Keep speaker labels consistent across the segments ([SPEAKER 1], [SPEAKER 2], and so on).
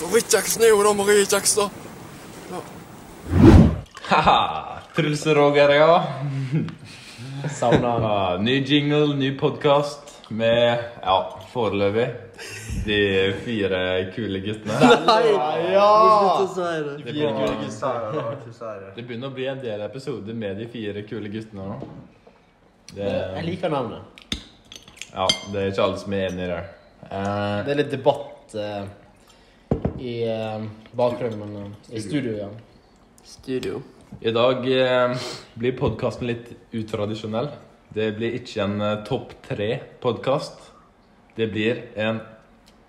[SPEAKER 1] Favorittjacksen er jo da Marie Kjeks, da.
[SPEAKER 2] Haha, Truls-Roger, ja. Savna han. Ny jingle, ny podkast med Ja, foreløpig de fire kule guttene.
[SPEAKER 3] Nei!
[SPEAKER 4] Ja!
[SPEAKER 3] Slutt å si det.
[SPEAKER 2] Det begynner,
[SPEAKER 4] Jeg
[SPEAKER 2] det begynner å bli en del episoder med de fire kule guttene nå. Det,
[SPEAKER 4] liker navnet.
[SPEAKER 2] ja, det er ikke alle som er enig i det. Eh,
[SPEAKER 4] Det er litt debatt eh, i eh, bakgrunnen, men eh, i studio, ja.
[SPEAKER 3] Studio.
[SPEAKER 2] I dag eh, blir podkasten litt utradisjonell. Det blir ikke en eh, topp tre-podkast. Det blir en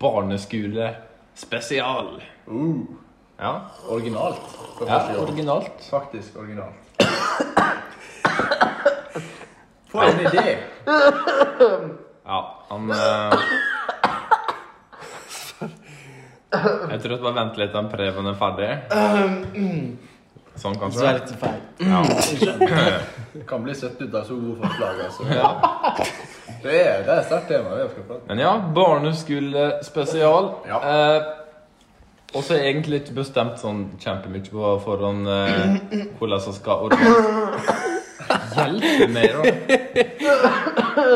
[SPEAKER 2] barneskole-spesial.
[SPEAKER 5] Uh,
[SPEAKER 2] Ja,
[SPEAKER 4] Originalt.
[SPEAKER 5] for
[SPEAKER 2] ja,
[SPEAKER 5] første gang.
[SPEAKER 2] originalt.
[SPEAKER 5] Faktisk originalt. For en idé!
[SPEAKER 2] Ja, han eh, Jeg tror at bare vente litt til han Preben er ferdig. Sånn,
[SPEAKER 4] Så er
[SPEAKER 2] kanskje?
[SPEAKER 4] det litt feil.
[SPEAKER 5] Kan bli søtt ut av så gode forslag, altså. Det er, det er sterkt tema. det skal jeg prate om.
[SPEAKER 2] Men ja, barneskolespesial.
[SPEAKER 5] Ja.
[SPEAKER 2] Eh, og så er jeg egentlig ikke bestemt sånn kjempemye på forhånd eh, hvordan jeg skal ordne Hjelpe meg, da.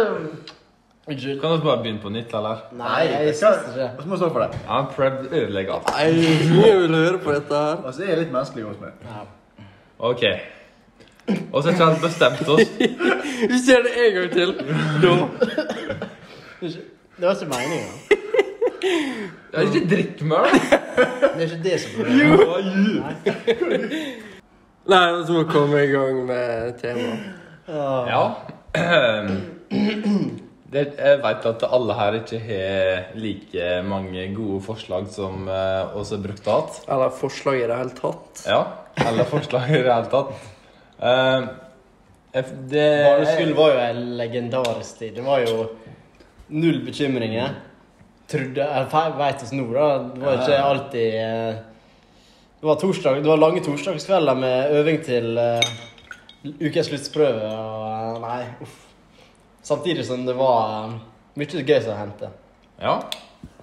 [SPEAKER 4] Unnskyld.
[SPEAKER 2] Kan vi bare begynne på nytt, eller?
[SPEAKER 4] Nei, jeg syns ikke det.
[SPEAKER 5] Og så må jeg stå for det.
[SPEAKER 2] Ja, Preb ødelegger alt.
[SPEAKER 3] Nei, ingen vil høre på dette her.
[SPEAKER 5] Altså, jeg er litt menneskelig hos meg.
[SPEAKER 2] OK. Og så har ikke helt bestemt oss.
[SPEAKER 3] Vi ser det en gang til. Da.
[SPEAKER 4] Unnskyld. Det var ikke meninga.
[SPEAKER 2] Det er ikke drittmøl.
[SPEAKER 4] Det er ikke det som er problemet.
[SPEAKER 3] Nei, så må vi komme i gang med temaet.
[SPEAKER 4] Ah.
[SPEAKER 2] Ja. Det, jeg veit at alle her ikke har like mange gode forslag som eh, oss har brukt og hatt.
[SPEAKER 3] Eller forslag i det hele tatt.
[SPEAKER 2] Ja. Alle forslag i det hele tatt. Eh, jeg- det
[SPEAKER 4] Barneskolen var jo en legendarisk tid. Det var jo null bekymringer. Trodde Jeg veit oss nå, da. Det var ikke alltid eh, Det var, torsdag, det var lange torsdagskvelder med øving til eh, ukens sluttprøve og eh, Nei, uff. Samtidig som det var eh, mye gøy som hendte.
[SPEAKER 2] Ja.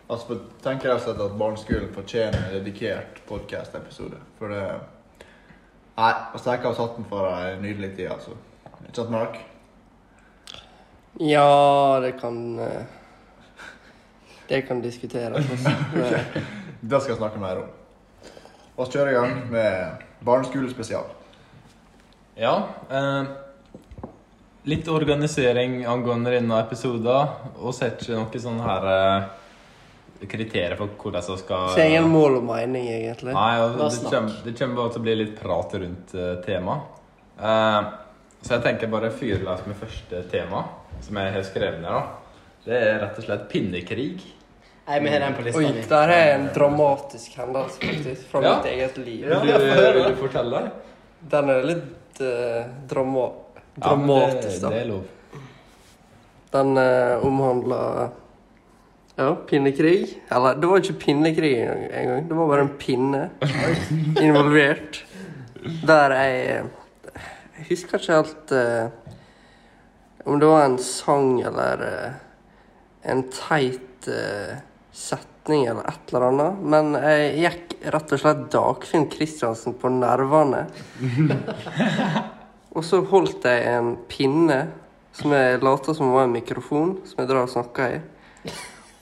[SPEAKER 5] Altså, for, tenker jeg også at barneskolen fortjener en dedikert podcast-episode. For det Nei, altså, jeg har satt den for en nydelig tid, altså. Ikke sant, Mark?
[SPEAKER 3] Ja, det kan eh, Det kan diskuteres. Men,
[SPEAKER 5] Det skal jeg snakke mer om. Vi kjører i gang med barneskolespesial.
[SPEAKER 2] ja eh, litt organisering angående denne episoden. Og setter ikke noe sånn her eh, kriterier for hvordan jeg skal
[SPEAKER 3] Så ingen mål og mening, egentlig.
[SPEAKER 2] Nei, og
[SPEAKER 4] Bare
[SPEAKER 2] det
[SPEAKER 4] snakk.
[SPEAKER 2] kommer, det kommer bare til å bli litt prat rundt eh, temaet. Eh, så jeg tenker bare fyre løs med første tema, som jeg har skrevet ned. da. Det er rett og slett pinnekrig.
[SPEAKER 4] Jeg må ha den på lista
[SPEAKER 3] Oi,
[SPEAKER 4] mi.
[SPEAKER 3] der er en dramatisk hendelse, faktisk. Fra
[SPEAKER 2] Ja.
[SPEAKER 3] mitt eget liv.
[SPEAKER 2] Vil du, vil du fortelle?
[SPEAKER 3] Den er litt eh, drama
[SPEAKER 2] Ja, men
[SPEAKER 3] dramatisk,
[SPEAKER 2] det,
[SPEAKER 3] da.
[SPEAKER 2] det er lov.
[SPEAKER 3] Den eh, omhandla ja, pinnekrig. Eller det var ikke pinnekrig engang. En gang. det var bare en pinne involvert. Der jeg eh, Jeg husker ikke helt eh, om det var en sang eller eh, en teit eh, setning eller et eller annet. Men jeg gikk rett og slett Dagfinn Kristiansen på nervene. Og så holdt jeg en pinne som jeg lata som var en mikrofon, som jeg drar og snakker i.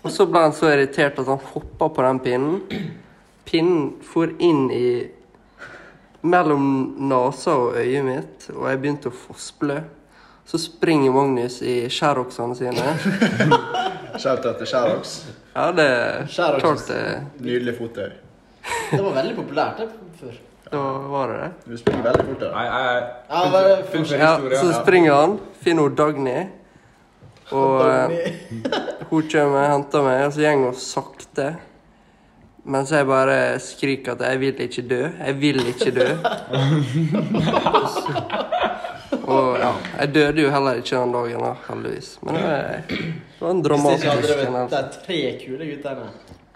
[SPEAKER 3] Og så ble han så irritert at han hoppa på den pinnen. Pinnen for inn i mellom nesa og øyet mitt, og jeg begynte å fossblø. Så springer Magnus i Sherroxene sine.
[SPEAKER 5] Shout-out til Sherrox.
[SPEAKER 3] Ja, det er
[SPEAKER 4] Sherroxes.
[SPEAKER 3] klart det.
[SPEAKER 5] Nydelig fottøy.
[SPEAKER 4] Det var veldig populært det før.
[SPEAKER 3] Da var det det.
[SPEAKER 5] Du springer veldig fort. da.
[SPEAKER 2] Nei, nei,
[SPEAKER 4] Ja, bare fortsett.
[SPEAKER 3] Ja, så springer han, finner hun Dagny. Og eh, hun kommer og henter meg, og så går hun sakte. Mens jeg bare skriker at 'jeg vil ikke dø', 'jeg vil ikke dø'. Og ja, jeg døde jo heller ikke den dagen, da, heldigvis. Men det var- det var en
[SPEAKER 4] Hvis ikke hadde
[SPEAKER 3] dramatisk
[SPEAKER 4] det vært
[SPEAKER 3] hendelse.
[SPEAKER 4] de tre kule guttene.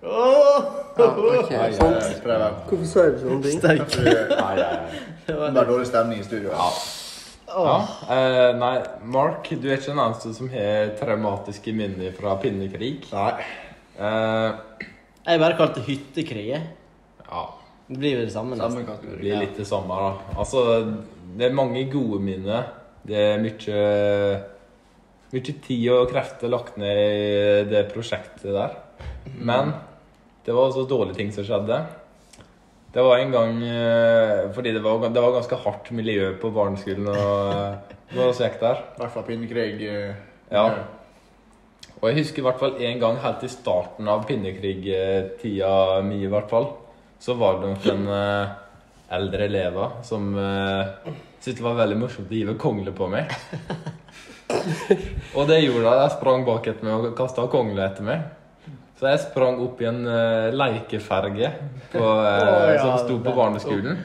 [SPEAKER 4] Åh!
[SPEAKER 3] Ja, ok,
[SPEAKER 5] Nei,
[SPEAKER 3] sånn.
[SPEAKER 5] jeg prøver.
[SPEAKER 3] Hvorfor sier du sånne ting?
[SPEAKER 4] Steik.
[SPEAKER 5] Det
[SPEAKER 2] nei, nei.
[SPEAKER 5] er dårlig stemning i studio. Ja.
[SPEAKER 2] Ja, eh, nei, Mark, du er ikke den eneste som har traumatiske minner fra pinnekrig.
[SPEAKER 5] Nei.
[SPEAKER 2] Eh,
[SPEAKER 4] Jeg bare kalte det hyttekrig. jeg.
[SPEAKER 2] Ja,
[SPEAKER 4] Det blir jo det samme. nesten.
[SPEAKER 2] det
[SPEAKER 5] Samme kategori.
[SPEAKER 2] blir litt det samme, da. Altså, det er mange gode minner. Det er mye Mye tid og krefter lagt ned i det prosjektet der. Men det var også dårlige ting som skjedde. Det var en gang eh, Fordi det var, det var ganske hardt miljø på barneskolen og, når vi gikk der.
[SPEAKER 5] I hvert fall pinnekrig. eh,
[SPEAKER 2] Ja. Og jeg husker i hvert fall en gang helt i starten av pinnekrigtida mi, i hvert fall, så var det noen eh, eldre elever som eh, syntes det var veldig morsomt å give kongle på meg. og det gjorde jeg. Jeg sprang bak etter meg og kasta kongle etter meg. Så jeg sprang opp i en eh, leikeferge på, eh,
[SPEAKER 4] Å, ja,
[SPEAKER 2] som sto på
[SPEAKER 4] det-
[SPEAKER 2] barneskolen.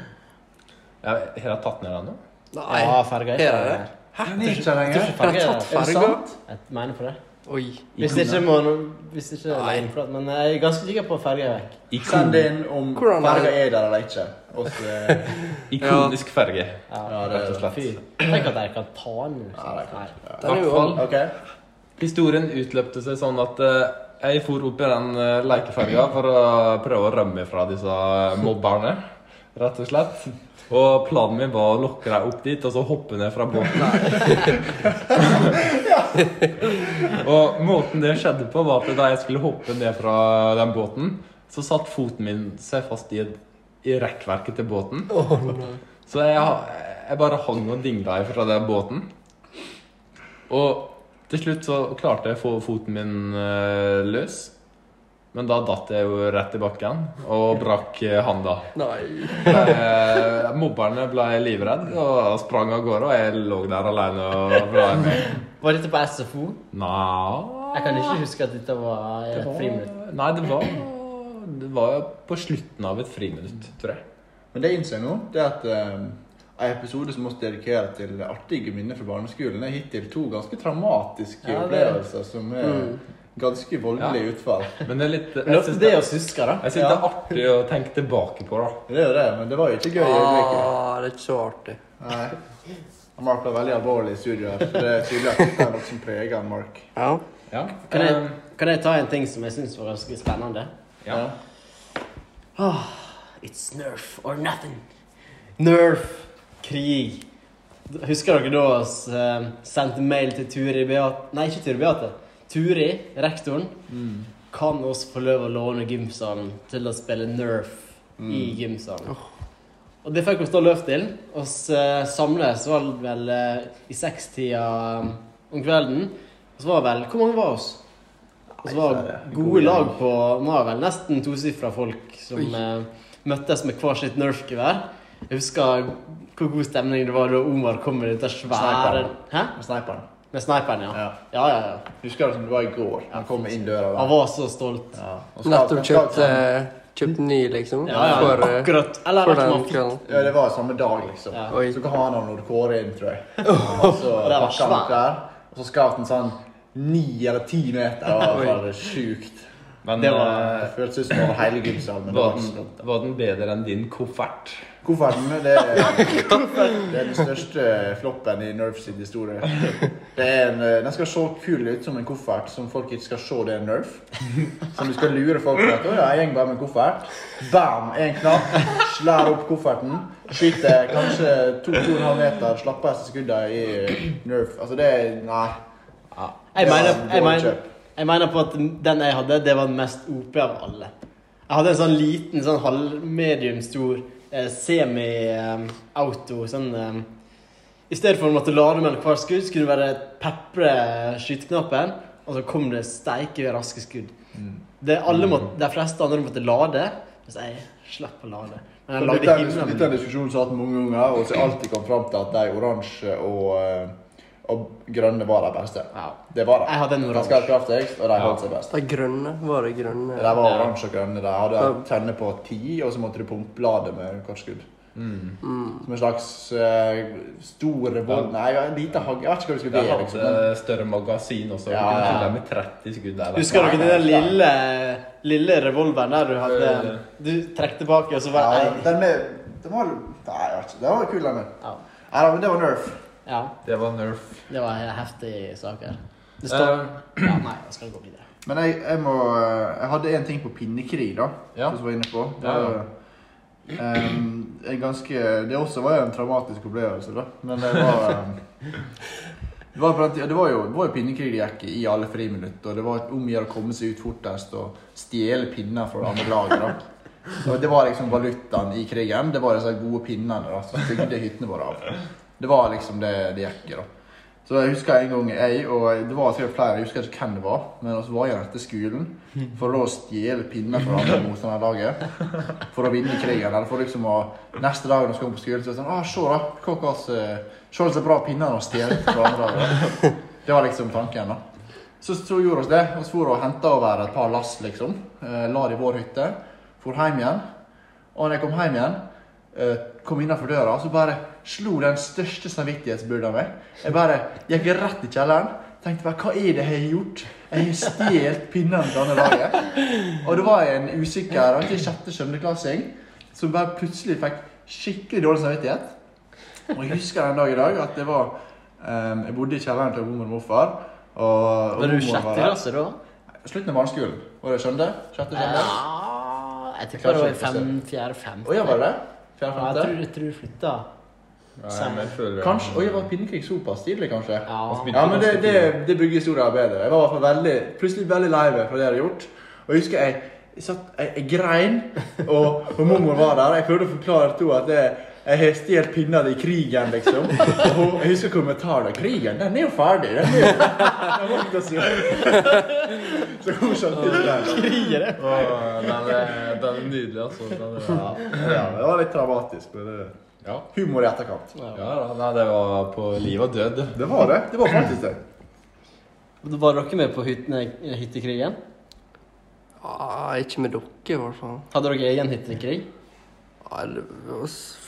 [SPEAKER 2] Ja, har jeg tatt ned den nå?
[SPEAKER 3] Nei.
[SPEAKER 4] Ja, ferga er
[SPEAKER 3] Er
[SPEAKER 4] ikke
[SPEAKER 3] det
[SPEAKER 4] det.
[SPEAKER 3] det?
[SPEAKER 5] Den er ikke lenger.
[SPEAKER 4] Ferga
[SPEAKER 3] Jeg
[SPEAKER 4] er
[SPEAKER 3] har
[SPEAKER 4] det.
[SPEAKER 3] tatt
[SPEAKER 5] Er det
[SPEAKER 3] ferga.
[SPEAKER 5] sant?
[SPEAKER 4] Jeg mener på det.
[SPEAKER 3] Oi.
[SPEAKER 4] Hvis det ikke må Hvis det ikke er
[SPEAKER 3] Nei.
[SPEAKER 4] innflatt. Men jeg er ganske sikker på at ferga er vekk.
[SPEAKER 5] Send inn om
[SPEAKER 3] Hvordan er det?
[SPEAKER 5] ferga er der eller ikke. Og så, eh,
[SPEAKER 2] Ikonisk ferge.
[SPEAKER 5] Ja, det er
[SPEAKER 2] Rett og slett.
[SPEAKER 4] Fy. Tenk at jeg kan ta den. liksom.
[SPEAKER 5] Ja, det er
[SPEAKER 4] Nei.
[SPEAKER 5] kanskje- ja.
[SPEAKER 3] Den er jo
[SPEAKER 2] Hvertfall.
[SPEAKER 5] OK.
[SPEAKER 2] Historien utløpte seg sånn at eh, jeg for opp i den uh, lekeferga for å prøve å rømme fra disse eh, mobberne, rett og slett. Og planen min var å lokke dem opp dit og så hoppe ned fra båten. og måten det skjedde på, var at da jeg skulle hoppe ned fra den båten, så satt foten min seg fast i, i rekkverket til båten. Så jeg, jeg bare hang og dingla fra den båten. Og til slutt så klarte jeg å få foten min eh, løs. Men da datt jeg jo rett i bakken og brakk eh, handa.
[SPEAKER 3] Nei.
[SPEAKER 2] Eh, Mobberne ble livredd og sprang av gårde, og jeg lå der alene og vra meg.
[SPEAKER 4] Var dette på SFO?
[SPEAKER 2] Nei
[SPEAKER 4] Jeg kan ikke huske at dette var i et friminutt.
[SPEAKER 2] Nei, det var Det var jo på slutten av et friminutt, tror jeg.
[SPEAKER 5] Men det jeg innser nå, det er at eh, en episode som oss dedikerer til artige minner fra barneskolen, er hittil to ganske traumatiske
[SPEAKER 4] Ja, det Mm. er-
[SPEAKER 5] opplevelser som er ganske voldelige utfall.
[SPEAKER 2] Men det er litt
[SPEAKER 4] Men
[SPEAKER 2] Jeg
[SPEAKER 4] ofte
[SPEAKER 2] syns
[SPEAKER 4] det
[SPEAKER 2] det,
[SPEAKER 4] å huske, da.
[SPEAKER 2] jeg syns det er artig å tenke tilbake på, da.
[SPEAKER 5] Det er jo det, men det var jo ikke gøy i øyeblikket.
[SPEAKER 3] Ah, det er ikke så artig.
[SPEAKER 5] Nei. Han Mark var veldig alvorlig i studio her, så det er tydelig at det er noe som preger han, Mark.
[SPEAKER 3] Ja.
[SPEAKER 2] Ja.
[SPEAKER 4] Kan jeg,
[SPEAKER 2] eh,
[SPEAKER 4] kan jeg ta en ting som jeg syns var ganske spennende?
[SPEAKER 2] ja.
[SPEAKER 4] It's nerf or nothing. Nerf. Krig. Husker dere da vi eh, sendte mail til Turi Beate Nei, ikke Turi Beate. Turi, rektoren, Mm. kan oss få lov å låne gymsalen til å spille Nerf i gymsalen. Og det fikk vi da lov til. Oss eh, samles var det vel eh, i sekstida eh, om kvelden. Og så var det vel Hvor mange var oss? Og så var det gode lag på Det var vel nesten tosifra folk som eh, møttes med hvert sitt Nerf-gevær. Jeg husker hvor god stemning det var da Omar kom med dette svære
[SPEAKER 5] Sniperen.
[SPEAKER 4] Hæ?
[SPEAKER 5] Og sniperen.
[SPEAKER 4] Med sniperen, ja.
[SPEAKER 5] Ja.
[SPEAKER 4] Ja, ja, ja.
[SPEAKER 5] Husker du som det var i går? Han kom inn døra
[SPEAKER 4] Han
[SPEAKER 5] der.
[SPEAKER 4] var så stolt.
[SPEAKER 5] Ja. og skal-
[SPEAKER 3] Nettopp
[SPEAKER 5] skal-
[SPEAKER 3] kjøpt, eh, kjøpt ny, liksom.
[SPEAKER 4] Ja, ja,
[SPEAKER 3] For, eh,
[SPEAKER 4] akkurat. Eller
[SPEAKER 3] for
[SPEAKER 4] vet du,
[SPEAKER 3] den
[SPEAKER 4] man fikk
[SPEAKER 3] kvelden.
[SPEAKER 5] Ja, det var samme dag, liksom.
[SPEAKER 4] Ja.
[SPEAKER 3] Oi.
[SPEAKER 5] Så ga han han Odd Kåre inn, tror jeg. Og
[SPEAKER 4] det
[SPEAKER 5] så
[SPEAKER 4] var
[SPEAKER 5] pakka han
[SPEAKER 4] svært.
[SPEAKER 5] opp der, og så skjøt han sånn ni eller ti meter. Det var bare sjukt.
[SPEAKER 2] Men
[SPEAKER 5] Det var,
[SPEAKER 2] eh,
[SPEAKER 5] det føltes ut som over hele gymsalen. men det var
[SPEAKER 2] Var
[SPEAKER 5] ikke så
[SPEAKER 2] den,
[SPEAKER 5] dumt.
[SPEAKER 2] var den bedre enn din koffert?
[SPEAKER 5] Kofferten det er, det er den største floppen i Nerf sin historie. Det er en, eh, den skal se kul ut som en koffert som folk ikke skal se det er Nerf. Som du skal lure folk med at «Å ja, jeg går bare med koffert. Bam! En knapp. Slær opp kofferten. Skyter kanskje 2-2,5 meter. Slappeste skuddene i Nerf. Altså, det er Nei.
[SPEAKER 4] Jeg
[SPEAKER 5] Det var
[SPEAKER 4] mener,
[SPEAKER 5] en
[SPEAKER 4] jeg,
[SPEAKER 5] dårlig
[SPEAKER 4] mener,
[SPEAKER 5] kjøp.
[SPEAKER 4] jeg mener på at den jeg hadde, det var den mest OP av alle. Jeg hadde en sånn liten, sånn halvmedium stor eh, semi-auto. Sånn eh, I stedet for å måtte lade mellom hvert skudd, skulle du bare pepre skyteknappen, og så kom det steike raske skudd.
[SPEAKER 5] Mm.
[SPEAKER 4] Det alle måtte, de fleste andre måtte lade, mens jeg slapp å lade. Men jeg
[SPEAKER 5] Dette
[SPEAKER 4] lagde
[SPEAKER 5] er en- dette er
[SPEAKER 4] himmelen.
[SPEAKER 5] en diskusjon som har hatt mange ganger, og som jeg alltid kom fram til at de oransje og, eh, og grønne var de beste.
[SPEAKER 4] Ja.
[SPEAKER 5] Det var de.
[SPEAKER 4] Jeg hadde en
[SPEAKER 5] Ganske
[SPEAKER 4] oransje.
[SPEAKER 5] kraftigst, og de holdt seg best.
[SPEAKER 3] De grønne var det grønne.
[SPEAKER 5] De var oransje og grønne. De hadde tenne på ti, og så måtte du pumpe bladet med hvert skudd.
[SPEAKER 4] Mm.
[SPEAKER 5] Som en slags eh, stor revolt Nei, en liten hagl. Jeg vet ikke hva du skal
[SPEAKER 2] Jeg
[SPEAKER 5] be. Liksom.
[SPEAKER 4] eh,
[SPEAKER 2] hadde større magasin også.
[SPEAKER 5] Ja,
[SPEAKER 2] Ja, ja.
[SPEAKER 5] ja.
[SPEAKER 2] Med 30 skudd der. da.
[SPEAKER 4] Husker dere
[SPEAKER 5] Nei,
[SPEAKER 4] den der
[SPEAKER 5] nei, nei.
[SPEAKER 4] lille, lille revolveren der du hadde Du trekk tilbake, og så var
[SPEAKER 5] Ja,
[SPEAKER 4] det ei
[SPEAKER 5] den med den var, Nei, jeg vet ikke. Den var kul, den. med.
[SPEAKER 4] Ja.
[SPEAKER 5] Nei, da, men det var Nerf.
[SPEAKER 4] ja.
[SPEAKER 2] Det var Nerf.
[SPEAKER 4] Det var en heftig sak her. Det står
[SPEAKER 2] Eh,
[SPEAKER 4] Ja, nei, jeg skal gå videre.
[SPEAKER 5] Men jeg, jeg må eh, Jeg hadde en ting på pinnekrig, da,
[SPEAKER 2] Ja.
[SPEAKER 5] som vi var inne på. Det
[SPEAKER 2] Ja, ja.
[SPEAKER 5] var, em, Ehm, en ganske Det også var jo en traumatisk opplevelse, da. Men det var em, det var, på den tida- det var jo, det var jo pinnekrig det gikk i i alle friminutt, og det var om å gjøre å komme seg ut fortest og stjele pinner fra det andre laget. da. Og det var liksom valutaen i krigen. Det var disse gode pinnene da, som bygde hyttene våre av. Det var liksom det det gikk i. da. Så jeg husker en gang jeg og det var sikkert flere, jeg husker ikke hvem det var, men vi var igjen etter skolen for å stjele pinner fra andre motstanderlaget for å vinne krigen. eller for liksom å, Neste dag når vi kom på skolen, så var det sånn ah, Se, da! Hva slags så bra pinner han har stjålet fra andre. laget.» Det var liksom tanken. da. Så, så gjorde vi det. Vi for og henta over et par lass, liksom. Eh, la det i vår hytte. For hjem igjen. Og når jeg kom hjem igjen, eh, kom innenfor døra, så bare slo den største samvittighetsbyrda meg. Jeg bare gikk rett i kjelleren. Tenkte bare hva er det jeg har gjort? Jeg har stjålet pinnene til andre laget. Og det var en usikker og sjette sjuendeklassing som bare plutselig fikk skikkelig dårlig samvittighet. Og jeg husker den dag i dag at det var eh, Jeg bodde i kjelleren til mormor og morfar. Og, og
[SPEAKER 4] Var du
[SPEAKER 5] mormor
[SPEAKER 4] sjette
[SPEAKER 5] der.
[SPEAKER 4] klasse da?
[SPEAKER 5] Slutten av barneskolen. Var det skjønne? Sjette skjønne?
[SPEAKER 4] Ja, jeg tipper det var i fem, fjerde, femte.
[SPEAKER 5] Å ja, var det det? Fjerde,
[SPEAKER 4] Ja, jeg
[SPEAKER 5] femte?
[SPEAKER 4] tror, jeg tror du flytta.
[SPEAKER 2] Nei, jeg føler
[SPEAKER 5] Kanskje, Oi, var pinnekrig såpass tidlig, kanskje?
[SPEAKER 4] Ja.
[SPEAKER 5] Ja, men det, det, det bygger historien bedre. Jeg var i hvert fall veldig, plutselig veldig lei meg for det jeg hadde gjort. Og jeg husker jeg, jeg, satt, jeg, jeg grein, og, og mormor var der. Jeg prøvde å forklare til henne at jeg, jeg har stjålet pinner i krigen, liksom. Og hun, jeg husker kommentaren. 'Krigen, den er jo ferdig.' Den er jo, den var ikke så Så hun skjønte ikke det.
[SPEAKER 4] Krigere.
[SPEAKER 2] den, er, den er nydelig, altså. Den er, ja.
[SPEAKER 5] Ja, det var litt dramatisk. Men det,
[SPEAKER 2] Ja.
[SPEAKER 5] humor i etterkant.
[SPEAKER 2] da, Nei, det var på liv og død.
[SPEAKER 5] Det var det. Det var faktisk det.
[SPEAKER 4] Da Var dere med på hyttene, hyttekrigen?
[SPEAKER 3] Ah, ikke med dere, i hvert fall.
[SPEAKER 4] Hadde dere egen hyttekrig?
[SPEAKER 3] Ah, det,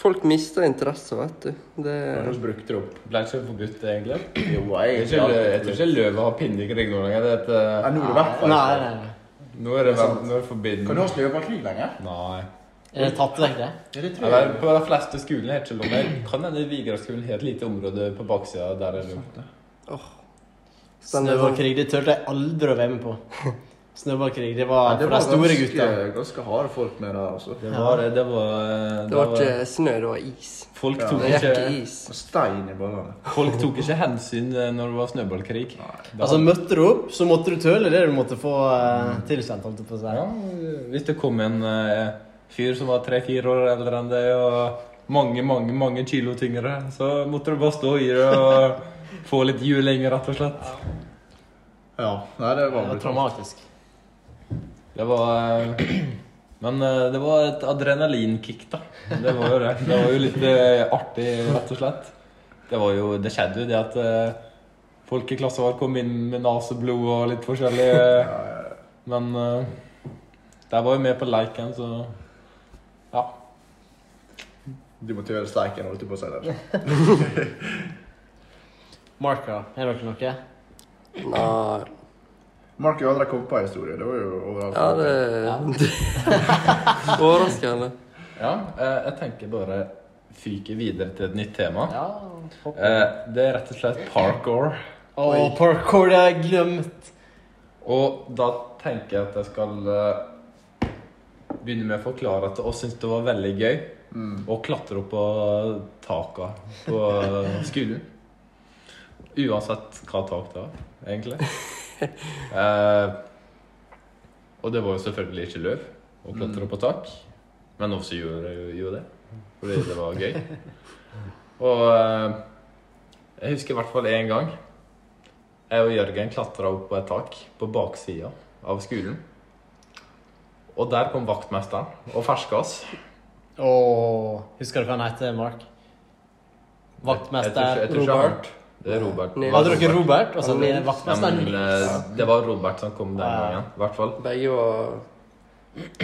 [SPEAKER 3] folk mister interesse, vet du. Det,
[SPEAKER 5] Hun brukte det opp.
[SPEAKER 2] Ble ikke forbudt, egentlig.
[SPEAKER 5] Jo,
[SPEAKER 2] Jeg
[SPEAKER 5] jeg,
[SPEAKER 2] tror ikke, jeg tror ikke det er lov å ha pinne i krig nå lenger. Det er et,
[SPEAKER 5] Ja, nå er det i hvert fall
[SPEAKER 4] Nei,
[SPEAKER 5] ikke.
[SPEAKER 4] nei, nei.
[SPEAKER 2] eh, nå er det, vel- nå er det
[SPEAKER 5] Kan du
[SPEAKER 2] forbudt.
[SPEAKER 5] også løpe krig lenger?
[SPEAKER 2] Nei.
[SPEAKER 4] Er det tatt vekk, det?
[SPEAKER 5] Ja, det tror jeg.
[SPEAKER 2] Eller, på de fleste skolene er det ikke lov. Jeg Kan hende Vigra-skolen har et lite område på baksida der er lov.
[SPEAKER 4] Snøballkrig, det turte jeg aldri å være med på. Snøballkrig, det
[SPEAKER 5] Ja,
[SPEAKER 4] var
[SPEAKER 5] det
[SPEAKER 4] for
[SPEAKER 5] var
[SPEAKER 4] de store
[SPEAKER 5] ganske-
[SPEAKER 4] gutta.
[SPEAKER 5] Ganske harde folk med der, altså.
[SPEAKER 2] Det var, det var,
[SPEAKER 3] det var ikke snø, det var is.
[SPEAKER 2] Folk
[SPEAKER 5] Ja.
[SPEAKER 2] tok
[SPEAKER 3] Det gikk
[SPEAKER 2] ikke
[SPEAKER 3] i is.
[SPEAKER 5] Og stein i ballene.
[SPEAKER 2] Folk tok ikke hensyn eh, når det var snøballkrig. Da-
[SPEAKER 4] Altså, møtte du opp, så måtte du tøle det du måtte få uh, tilsendt, holdt jeg på å si.
[SPEAKER 2] ja, hvis det kom en eh, fyr som var tre-fire år eldre enn deg, og mange, mange mange kilo tyngre, så måtte du bare stå i det og få litt juling, rett og slett.
[SPEAKER 5] Ja, nei, det
[SPEAKER 4] Det
[SPEAKER 5] var
[SPEAKER 4] var
[SPEAKER 5] brutalt.
[SPEAKER 4] traumatisk.
[SPEAKER 2] Det var eh, Men eh, det var et adrenalinkick, da. Det var jo det. Det var jo litt eh, artig, rett og slett. Det var jo, det skjedde jo det at eh, folk i klassen vår kom inn med naseblod og litt forskjellig. eh, Men eh, der var jo med på leiken, så Ja.
[SPEAKER 5] Du måtte gjøre steiken, holdt jeg på å si der.
[SPEAKER 4] Marka, har dere noe?
[SPEAKER 3] Nei.
[SPEAKER 5] Mark har jo aldri kommet på en historie. Det var jo overalt.
[SPEAKER 3] Ja, det Overraskende.
[SPEAKER 2] ja eh, jeg tenker bare fyke videre til et nytt tema.
[SPEAKER 4] Ja, hopp.
[SPEAKER 2] Eh, det er rett og slett parkour.
[SPEAKER 4] Å, parkour, det har jeg glemt.
[SPEAKER 2] Og da tenker jeg at jeg skal eh, begynne med å forklare at vi syntes det var veldig gøy
[SPEAKER 5] Mm.
[SPEAKER 2] å klatre opp på taka på eh, skolen. Uansett hva tak det var, egentlig. Eh, og det var jo selvfølgelig ikke løv å klatre opp på tak, men også gjorde jeg jo det, fordi det var gøy. Og eh, jeg husker i hvert fall én gang jeg og Jørgen klatra opp på et tak på baksida av skolen. Og der kom vaktmesteren og ferska oss.
[SPEAKER 4] Å, husker du hva han heter, Mark? Vaktmester
[SPEAKER 2] Jeg tror ikke- jeg tror ikke han-
[SPEAKER 4] Robert.
[SPEAKER 2] Det er Robert.
[SPEAKER 3] Nei.
[SPEAKER 4] Hadde dere Robert? Altså,
[SPEAKER 3] Han
[SPEAKER 4] det
[SPEAKER 3] Nils.
[SPEAKER 4] er
[SPEAKER 2] Ja, men,
[SPEAKER 4] vaktmesteren.
[SPEAKER 2] eh, det var Robert som kom den
[SPEAKER 4] Ja.
[SPEAKER 2] gangen, i hvert fall.
[SPEAKER 3] Begge var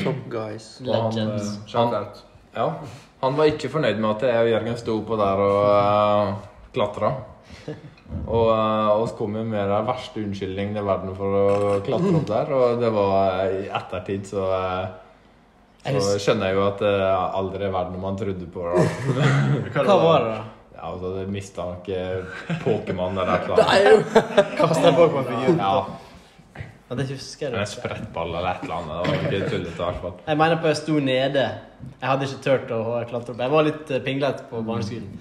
[SPEAKER 3] top guys.
[SPEAKER 2] Og han, eh,
[SPEAKER 4] Legends.
[SPEAKER 2] han,
[SPEAKER 5] Shout-out.
[SPEAKER 2] ja, han var ikke fornøyd med at jeg og Jørgen sto på der og uh, klatra. Og eh, oss kom jo med den verste unnskyldningen i verden for å klatre opp der. Og det var eh, i ettertid, så eh, Så
[SPEAKER 4] Jeg husker-
[SPEAKER 2] skjønner jeg jo at det er aldri verden om man trodde på det. da.
[SPEAKER 4] Hva var det, da?
[SPEAKER 2] Ja, altså, det eh, mistanke Pokémon eller et eller annet.
[SPEAKER 4] Kastet jeg på meg figuren.
[SPEAKER 2] Ja.
[SPEAKER 4] Ja, det husker
[SPEAKER 2] En
[SPEAKER 4] jeg ikke.
[SPEAKER 2] sprettball eller et eller annet. Det var ikke tullete, i hvert fall.
[SPEAKER 4] Jeg mener på jeg sto nede. Jeg hadde ikke turt å klatre opp. Jeg var litt eh, pinglete på barneskolen.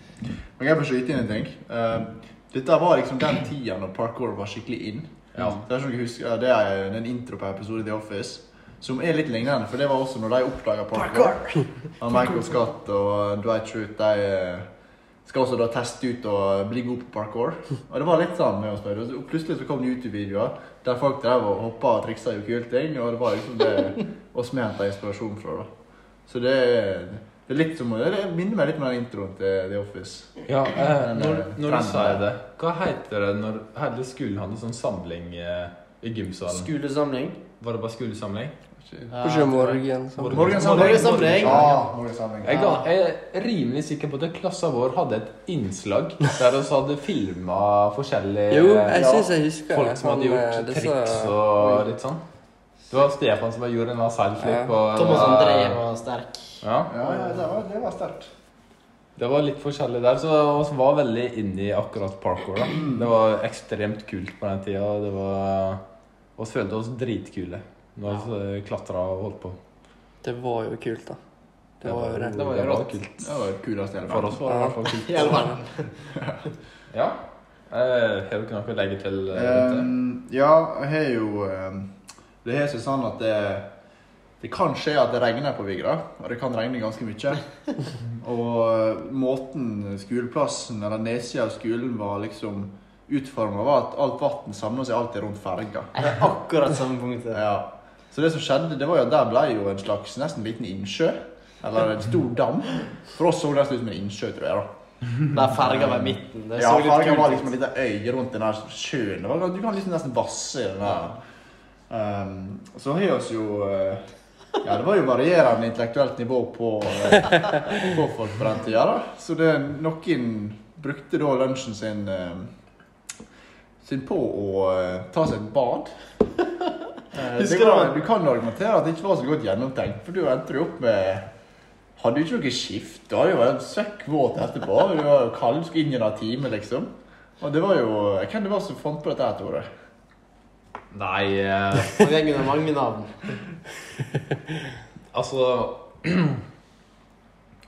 [SPEAKER 5] Men jeg får skyte inn en ting. Eh, dette var liksom den tida når parkour var skikkelig in.
[SPEAKER 2] Ja.
[SPEAKER 5] Det er, som dere husker, det er den intro på episode i The Office, som er litt lignende, for det var også når de oppdaga parkour. Han Michael Scott og Dwight Schrute, de eh, skal også da teste ut og bli god på parkour. Og det var litt sånn med oss, Børre. og så plutselig så kom det YouTube-videoer der folk drev og hoppa og triksa i kule ting, og det var liksom det oss vi henta inspirasjon fra, da. Så det er, det er litt som å- Det minner meg litt om den introen til The Office.
[SPEAKER 2] Ja, eh,
[SPEAKER 5] Den,
[SPEAKER 2] når,
[SPEAKER 5] eh,
[SPEAKER 2] når du
[SPEAKER 5] trenden
[SPEAKER 2] sa
[SPEAKER 5] der.
[SPEAKER 2] det Hva heter det når hele skolen hadde sånn samling eh, i gymsalen?
[SPEAKER 4] Skolesamling.
[SPEAKER 2] Var det bare skolesamling?
[SPEAKER 3] Kanskje morgen. sånn.
[SPEAKER 5] Morgensamling.
[SPEAKER 4] Morgensamling.
[SPEAKER 5] Ja, morgensamling.
[SPEAKER 2] Jeg, ga- jeg er rimelig sikker på at klassen vår hadde et innslag der vi hadde filma forskjellige eh,
[SPEAKER 3] Jo, jeg
[SPEAKER 2] ja,
[SPEAKER 3] syns jeg husker
[SPEAKER 2] folk som hadde gjort
[SPEAKER 3] eh, disse-
[SPEAKER 2] triks og litt sånn. Det var Stefan som gjorde en vasallflip.
[SPEAKER 3] Ja.
[SPEAKER 2] og-
[SPEAKER 4] Thomas André var sterk.
[SPEAKER 2] Ja.
[SPEAKER 5] Ja, ja, det var, det var sterkt.
[SPEAKER 2] Det var litt forskjellig der, så vi var veldig inne i akkurat parkour. da. Det var ekstremt kult på den tida. og Det var Vi følte oss dritkule når vi klatra og holdt på.
[SPEAKER 3] Det var jo kult, da. Det var jo det.
[SPEAKER 4] Det var jo rått.
[SPEAKER 2] kult.
[SPEAKER 5] Det var kulest i hele
[SPEAKER 2] For
[SPEAKER 5] verden.
[SPEAKER 2] oss var det i hvert fall kult.
[SPEAKER 4] I alle fall.
[SPEAKER 2] Ja. Eh, Har dere noe å legge til? eh, dette?
[SPEAKER 5] Ehm, ja, jeg har jo ehm, Det har seg sånn at det, det kan skje at det regner på Vigra. Og det kan regne ganske mye. Og eh, måten skoleplassen eller nedsida av skolen var liksom utforma, var at alt vann samla seg alltid rundt ferga.
[SPEAKER 4] Det er akkurat samme punktet.
[SPEAKER 5] Ja. Så det som skjedde, det var jo at der ble jo en slags nesten liten innsjø. Eller en stor dam. For oss så det nesten ut som en innsjø, tror jeg. da.
[SPEAKER 4] Der ferga var i midten. Det
[SPEAKER 5] ja,
[SPEAKER 4] så litt
[SPEAKER 5] fargen var
[SPEAKER 4] kult
[SPEAKER 5] liksom en
[SPEAKER 4] ut.
[SPEAKER 5] liten øy rundt den der sjøen. Det var- Du kan liksom nesten vasse i den der. Um, så har vi oss jo eh, Ja, det var jo varierende intellektuelt nivå på, eh, på folk på den tida, da. Så det, noen brukte da lunsjen sin eh, sin på å eh, ta seg et bad. Eh, det
[SPEAKER 4] Husker du
[SPEAKER 5] var,
[SPEAKER 4] det?
[SPEAKER 5] du kan argumentere at det ikke var så godt gjennomtenkt, for du endte jo opp med hadde jo ikke noe skift. Du hadde jo vært søkk våt etterpå. Du var jo kald, du skulle inn i en time, liksom. Og det var jo eh, Hvem det var som fant på dette, her, Tore?
[SPEAKER 2] Nei eh,
[SPEAKER 4] Og gjengen har mange navn.
[SPEAKER 2] Altså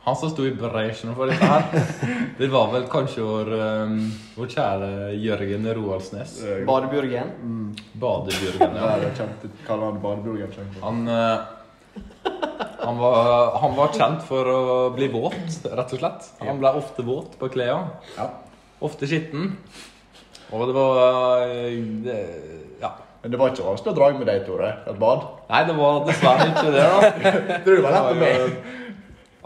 [SPEAKER 2] Han som sto i bresjen for dette her, det var vel kanskje vår, eh, vår kjære Jørgen Roaldsnes.
[SPEAKER 5] Eh,
[SPEAKER 4] Badebjørgen.
[SPEAKER 2] Badebjørgen, ja.
[SPEAKER 5] Nei, jeg kjente kaller han Badebrogen. kjente jeg.
[SPEAKER 2] Han, eh, han, var, han var kjent for å bli våt, rett og slett. Han ble ofte våt på klærne.
[SPEAKER 5] Ja.
[SPEAKER 2] Ofte skitten. Og det var eh, det, Ja.
[SPEAKER 5] Men det var ikke vanskelig å dra med deg, Tore. Et bad.
[SPEAKER 2] Nei, det var dessverre ikke det, da.
[SPEAKER 5] Tror du det var lett å be?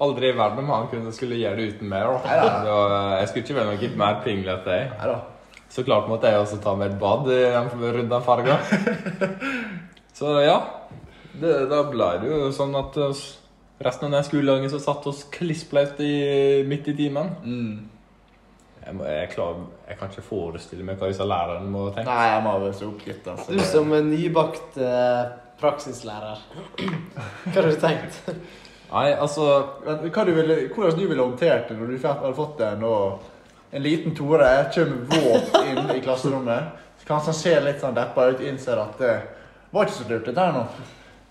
[SPEAKER 2] Aldri i verden om han kunne skulle gjøre det uten meg. da.
[SPEAKER 5] Neida.
[SPEAKER 2] Det var- eh, Jeg skulle ikke være noe mer pinglete. jeg.
[SPEAKER 5] Nei da.
[SPEAKER 2] Så klart måtte jeg også ta med et bad i den- rundt den farga. Så ja. Det, da ble det jo sånn at oss- resten av den skoledagen så satt oss klissblaut i, midt i timen.
[SPEAKER 5] Mm.
[SPEAKER 2] Jeg, må, jeg, klarer, jeg kan ikke forestille meg hva disse lærerne må tenke.
[SPEAKER 5] Nei, jeg må være så oppgitt. Altså.
[SPEAKER 4] Du som en nybakt eh, praksislærer. Hva har du tenkt?
[SPEAKER 2] Nei, altså
[SPEAKER 5] Men Hva du ville, hvordan du ville håndtert det når du fikk- hadde fått en, og en liten Tore kommer våt inn i klasserommet? Så Kanskje han ser litt sånn deppa ut, innser at det var ikke så lurt, dette her nå.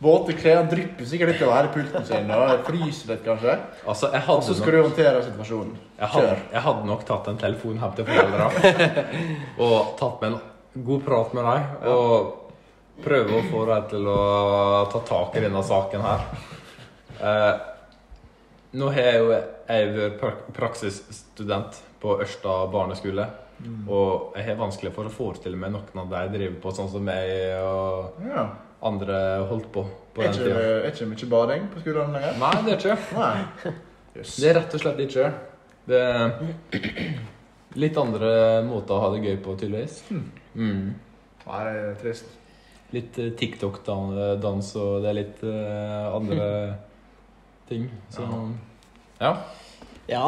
[SPEAKER 5] Våte klær drypper sikkert litt over hele pulten sin og fryser litt, kanskje.
[SPEAKER 2] Altså, jeg
[SPEAKER 5] Og så
[SPEAKER 2] hadde, nok,
[SPEAKER 5] skal du håndtere situasjonen.
[SPEAKER 2] jeg, hadde,
[SPEAKER 5] Kjør.
[SPEAKER 2] jeg hadde nok tatt en telefon hjem til foreldra og tatt med en god prat med dem. Og prøve å få dem til å ta tak i denne saken her. Eh, nå har jeg jo jeg vært pra- praksisstudent på Ørsta barneskole.
[SPEAKER 5] Mm.
[SPEAKER 2] Og jeg har vanskelig for å forestille meg noen av de driver på sånn som jeg og
[SPEAKER 5] Ja.
[SPEAKER 2] andre holdt på på
[SPEAKER 5] Er
[SPEAKER 2] den
[SPEAKER 5] ikke,
[SPEAKER 2] tida.
[SPEAKER 5] er ikke mye bading på skolen lenger?
[SPEAKER 2] Nei, det er ikke.
[SPEAKER 5] Nei.
[SPEAKER 2] Det er rett og slett ikke. Det er litt andre måter å ha det gøy på, tydeligvis. Mm.
[SPEAKER 5] Nei, det er trist.
[SPEAKER 2] Litt eh, TikTok-dans, og det er litt eh, andre ting. Så ja.
[SPEAKER 4] Ja.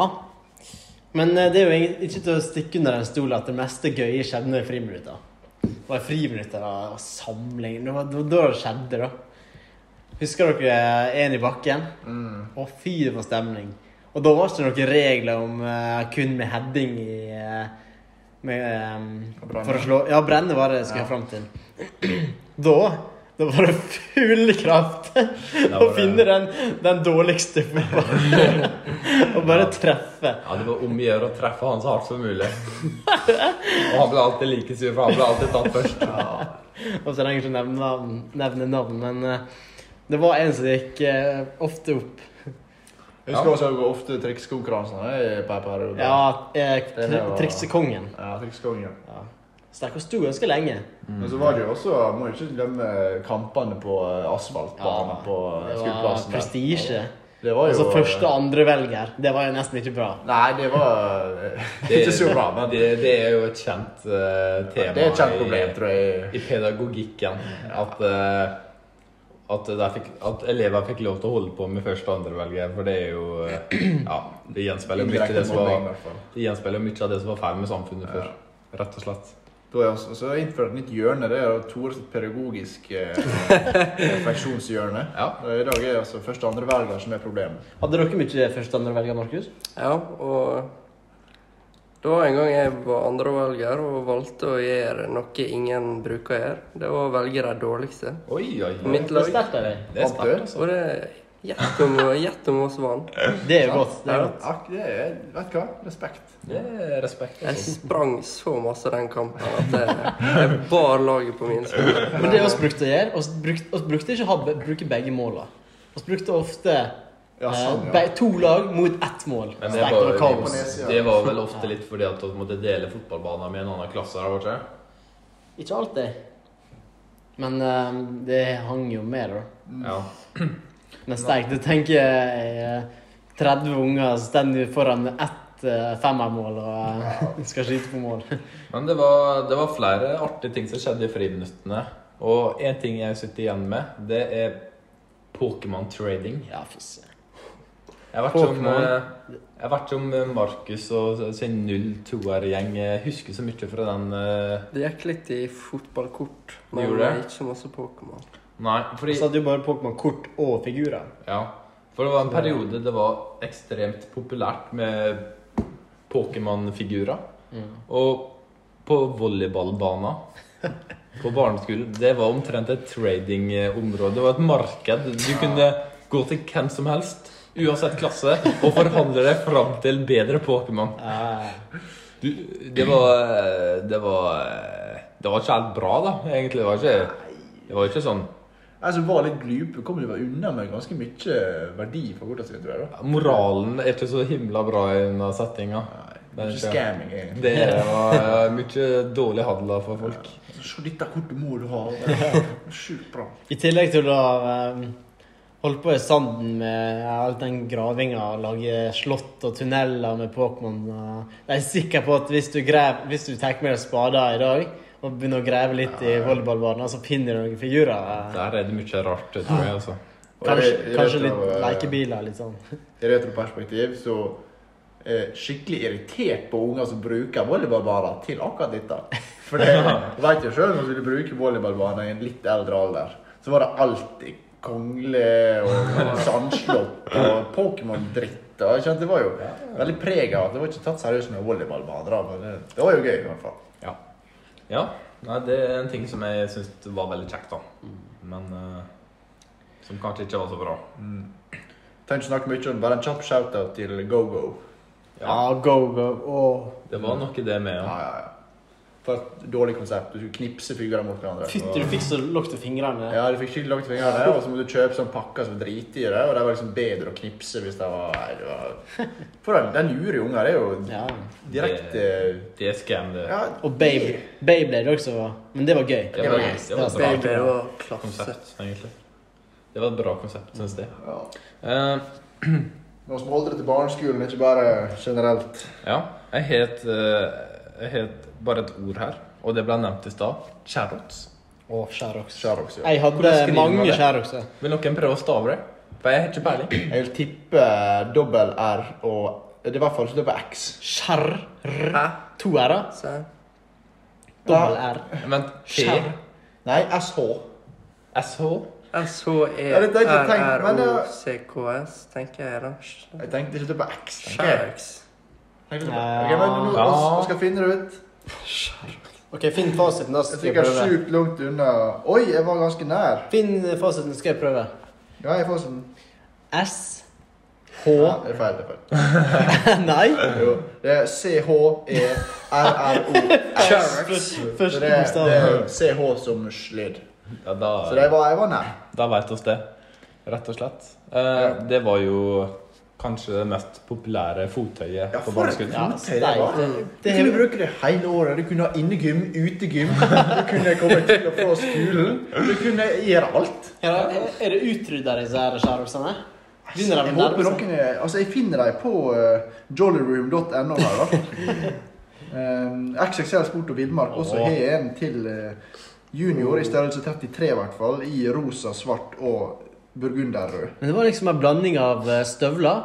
[SPEAKER 4] Men eh, det er jo egentlig ikke til å stikke under en stol at det meste gøye skjedde i friminutta. Det var i friminutta da, og samling Det var det var da det skjedde, da. Husker dere én i bakken?
[SPEAKER 5] Mm.
[SPEAKER 4] Å, fy, det var stemning. Og da var det ikke noen regler om eh, kun med heading i eh, med, ehm, eh,
[SPEAKER 5] Og brenne.
[SPEAKER 4] For å slå Ja, brenne var det jeg skulle jeg fram til. Da da var det full kraft å
[SPEAKER 2] var det-
[SPEAKER 4] finne den, den dårligste fotballen. Og bare treffe.
[SPEAKER 2] Ja, Det var om å gjøre å treffe han så hardt som mulig. Og han ble alltid like sur, for han ble alltid tatt først.
[SPEAKER 4] Og så trenger jeg ikke nevne navn, nevne navn men eh, det var en som gikk eh, ofte opp.
[SPEAKER 5] Jeg husker også jeg går ofte triksekonkurransene jeg, på en periode.
[SPEAKER 4] Ja, eh,
[SPEAKER 5] Den
[SPEAKER 4] tri-
[SPEAKER 5] der var-
[SPEAKER 4] triksekongen.
[SPEAKER 5] Ja, triksekongen.
[SPEAKER 4] Ja. Sterk og sto ganske lenge.
[SPEAKER 5] Men så var det jo også, må jo ikke glemme kampene på eh, asfaltbanen på eh,
[SPEAKER 4] Det var
[SPEAKER 5] skuddplassen. der.
[SPEAKER 4] prestisje.
[SPEAKER 5] Det var jo eh,
[SPEAKER 4] Altså første- og andrevelger. Det var jo nesten ikke bra.
[SPEAKER 5] Nei, det var eh,
[SPEAKER 2] Det,
[SPEAKER 5] ikke så bra, men
[SPEAKER 2] det, det er jo et kjent eh,
[SPEAKER 5] det
[SPEAKER 2] tema
[SPEAKER 5] er et kjent
[SPEAKER 2] i-
[SPEAKER 5] problem, tror jeg.
[SPEAKER 2] i pedagogikken at, eh, at, der fikk, at elever fikk lov til å holde på med første- og andrevalget. For det er jo eh, Ja, det gjenspeiler mye, av
[SPEAKER 5] Indirekte
[SPEAKER 2] det som
[SPEAKER 5] mobbing, i
[SPEAKER 2] var,
[SPEAKER 5] hvert fall.
[SPEAKER 2] det gjenspeiler mye av det som var feil med samfunnet før. Rett og slett.
[SPEAKER 5] Da har jeg også- så har jeg innført et nytt hjørne. Det er Tores pedagogisk eh, refleksjonshjørne.
[SPEAKER 2] Ja.
[SPEAKER 5] I dag er det altså første og andre velger som er problemet.
[SPEAKER 4] Hadde dere mye første- og andrevelger, Markus?
[SPEAKER 3] Ja, og det var en gang jeg var andrevalger og valgte å gjøre noe ingen bruker å gjøre. Det var å velge de dårligste.
[SPEAKER 2] Oi, oi, oi.
[SPEAKER 3] Mitt
[SPEAKER 4] Det
[SPEAKER 3] lag.
[SPEAKER 4] sterkte jeg.
[SPEAKER 2] Det er
[SPEAKER 5] Vant du?
[SPEAKER 2] sterkt, altså.
[SPEAKER 3] Og det Gjett om, gjett om oss vant.
[SPEAKER 4] Det er godt. det er
[SPEAKER 3] Ja.
[SPEAKER 4] godt.
[SPEAKER 5] Ak, det er, vet du hva? Respekt.
[SPEAKER 2] Det er respekt.
[SPEAKER 3] Jeg
[SPEAKER 2] Altså.
[SPEAKER 3] sprang så masse den kampen at jeg, jeg bar laget på min skulder.
[SPEAKER 4] Men det vi brukte å gjøre, oss brukte, oss brukte ikke å ha be- bruke begge måla. Vi brukte ofte
[SPEAKER 5] Ja,
[SPEAKER 4] eh,
[SPEAKER 5] sånn, ja.
[SPEAKER 4] be- to lag mot ett mål.
[SPEAKER 2] Men det
[SPEAKER 4] Sterkt og
[SPEAKER 2] var,
[SPEAKER 4] kaos.
[SPEAKER 2] det var vel ofte litt fordi at du måtte dele fotballbanen med en annen klasse. der borte.
[SPEAKER 4] Ikke alltid. Men eh, det hang jo med, da.
[SPEAKER 2] Ja.
[SPEAKER 4] Men sterkt. Du tenker eh, 30 unger som står foran ett eh, femmermål og eh, skal skyte på mål.
[SPEAKER 2] Men det var, det var flere artige ting som skjedde i friminuttene. Og én ting jeg sitter igjen med, det er Pokémon-trading.
[SPEAKER 4] Ja, fy søren.
[SPEAKER 2] Jeg har vært som,
[SPEAKER 4] Pokémon.
[SPEAKER 2] eh, jeg har vært som eh, Markus og sin 02-er-gjeng. Jeg husker så mye fra den eh,
[SPEAKER 3] Det gikk litt i fotballkort, men
[SPEAKER 2] Gjorde det?
[SPEAKER 3] ikke masse Pokémon.
[SPEAKER 2] Nei, fordi
[SPEAKER 4] Så hadde jo bare Pokémon-kort og figurer.
[SPEAKER 2] Ja. For det var en periode det var ekstremt populært med Pokémon-figurer.
[SPEAKER 4] Mm.
[SPEAKER 2] Og på volleyballbanen på barneskolen Det var omtrent et trading-område. Det var et marked. Du kunne gå til hvem som helst, uansett klasse, og forhandle deg fram til bedre Pokémon.
[SPEAKER 4] Eh,
[SPEAKER 2] Du, det var Det var Det var ikke helt bra, da, egentlig. Det var ikke, det var ikke sånn
[SPEAKER 5] Jeg som var litt glupe, kom jo bare unna med ganske mye verdi for hvordan det skulle være. da.
[SPEAKER 2] Moralen er ikke så himla bra i denne settinga. Det
[SPEAKER 5] Mye
[SPEAKER 2] er ikke-
[SPEAKER 5] scamming, egentlig.
[SPEAKER 2] Det var mye dårlig handel for folk.
[SPEAKER 5] Se dette kortet må du ha. Det er Sjukt bra.
[SPEAKER 4] I tillegg til å ha eh, holdt på i sanden med all den gravinga og lage slott og tunneler med Pokémon og Jeg er sikker på at hvis du, grev, hvis du tar med deg spader i dag og begynner å grave litt i volleyballbanen, så finner du noen figurer. eh.
[SPEAKER 2] Der er det mye rart, tror jeg. eh, altså.
[SPEAKER 5] Og
[SPEAKER 4] Kanskje,
[SPEAKER 5] i- i
[SPEAKER 4] kanskje
[SPEAKER 5] retro-
[SPEAKER 4] litt lekebiler, litt sånn.
[SPEAKER 5] I retroperspektiv så er jeg skikkelig irritert på unger som bruker volleyballbaner til akkurat dette. For det du vet jo sjøl når du vil bruke volleyballbaner i en litt eldre alder, så var det alltid kongle og sandslått og Pokémon-dritt. og jeg skjønte Det var jo veldig preg av at det var ikke tatt seriøst med volleyballbaner. da, Men det, det var jo gøy, i hvert fall.
[SPEAKER 2] Ja. ja. Nei, det er en ting som jeg syns var veldig kjekt, da. Men eh, som kanskje ikke var så bra.
[SPEAKER 5] Tenk å snakke mye om bare en kjapp shout-out til GoGo.
[SPEAKER 4] Ja, go, go. Åh.
[SPEAKER 2] Det var noe det med, ja.
[SPEAKER 5] Ja, ja, ja. For et dårlig konsept. Du skulle knipse figurer mot hverandre.
[SPEAKER 4] Fytti, du fikk så lukt i fingrene.
[SPEAKER 5] Ja, du fikk skikkelig langt fingrene, og så måtte du kjøpe sånn pakker som var dritdyre, og det var liksom bedre å knipse hvis det var Nei, det var For den, den lurer jo unger, det er jo
[SPEAKER 4] Ja.
[SPEAKER 5] direkte
[SPEAKER 2] Det er scam, det.
[SPEAKER 5] Ja,
[SPEAKER 4] Og Beyblade Beyblade også. var- Men det var gøy.
[SPEAKER 2] Det var,
[SPEAKER 4] nice.
[SPEAKER 2] det var
[SPEAKER 5] Altså,
[SPEAKER 2] et
[SPEAKER 3] Det
[SPEAKER 2] bra
[SPEAKER 3] var klasse.
[SPEAKER 2] konsept, egentlig. Det var et bra konsept, syns jeg.
[SPEAKER 5] ja.
[SPEAKER 2] Eh,
[SPEAKER 5] Nå som holder det til barneskolen, ikke bare generelt.
[SPEAKER 2] Ja, jeg het, eh, jeg het bare et ord her, og det ble nevnt i stad. Charrots.
[SPEAKER 4] Og Sherox.
[SPEAKER 5] Sharrox, ja.
[SPEAKER 4] Jeg hadde
[SPEAKER 2] Hvordan skriver man
[SPEAKER 4] mange
[SPEAKER 2] det?
[SPEAKER 4] Sheroxer.
[SPEAKER 2] Vil noen prøve å stave det? For jeg har ikke peiling.
[SPEAKER 5] Jeg vil tippe dobbel R og Det er i hvert fall ikke dobbel X.
[SPEAKER 4] Skjerr.
[SPEAKER 3] Hæ?
[SPEAKER 4] To r-er.
[SPEAKER 3] Så,
[SPEAKER 4] Dobbel R.
[SPEAKER 2] Vent, T,
[SPEAKER 4] Charr.
[SPEAKER 5] Nei, SH.
[SPEAKER 2] SH
[SPEAKER 5] Ja, det er det jeg tenkte, men det-
[SPEAKER 3] S-H-E-R-O-C-K-S, tenker jeg da.
[SPEAKER 5] Jeg tenkte ikke dobbel X. tenker jeg.
[SPEAKER 3] Sharks.
[SPEAKER 5] Tenkte dobbel- Ok, men nå, nå skal jeg finne det ut.
[SPEAKER 4] OK, finn fasiten, da. så
[SPEAKER 5] Jeg
[SPEAKER 4] skal jeg
[SPEAKER 5] stikker
[SPEAKER 4] prøve.
[SPEAKER 5] sjukt langt unna. Oi, jeg var ganske nær.
[SPEAKER 4] Finn fasiten, skal jeg prøve.
[SPEAKER 5] Ja, jeg får sånn.
[SPEAKER 4] S
[SPEAKER 5] Ja,
[SPEAKER 4] H
[SPEAKER 5] det er feil. det er feil.
[SPEAKER 4] Nei.
[SPEAKER 5] Jo, det er E C-H-E-R-R-O. Så
[SPEAKER 4] Første
[SPEAKER 5] det, det
[SPEAKER 4] bokstav.
[SPEAKER 5] er CH som slid.
[SPEAKER 2] Ja, da,
[SPEAKER 5] Så det var, jeg var nær.
[SPEAKER 2] da veit oss det, rett og slett. Eh, det var jo kanskje det mest populære fottøyet
[SPEAKER 5] Ja,
[SPEAKER 2] på
[SPEAKER 5] for et
[SPEAKER 2] barneskolen.
[SPEAKER 4] Ja,
[SPEAKER 5] fottøy det var. Du
[SPEAKER 4] Det-
[SPEAKER 5] kunne bruke det hele året. Du kunne ha innegym, utegym. Du kunne komme til og fra skolen. Du kunne gjøre alt.
[SPEAKER 4] Ja, er det utrydda, disse her skjærelsene? Begynner de
[SPEAKER 5] Jeg
[SPEAKER 4] å
[SPEAKER 5] håper
[SPEAKER 4] nærme seg?
[SPEAKER 5] noen er, altså jeg finner dem på eh, jollyroom.no her, da. Um, XXL Sport og Villmark også
[SPEAKER 2] Åh.
[SPEAKER 5] har en til eh, junior i størrelse 33, i hvert fall. I rosa, svart og burgunderrød.
[SPEAKER 4] Men det var liksom en blanding av eh, støvler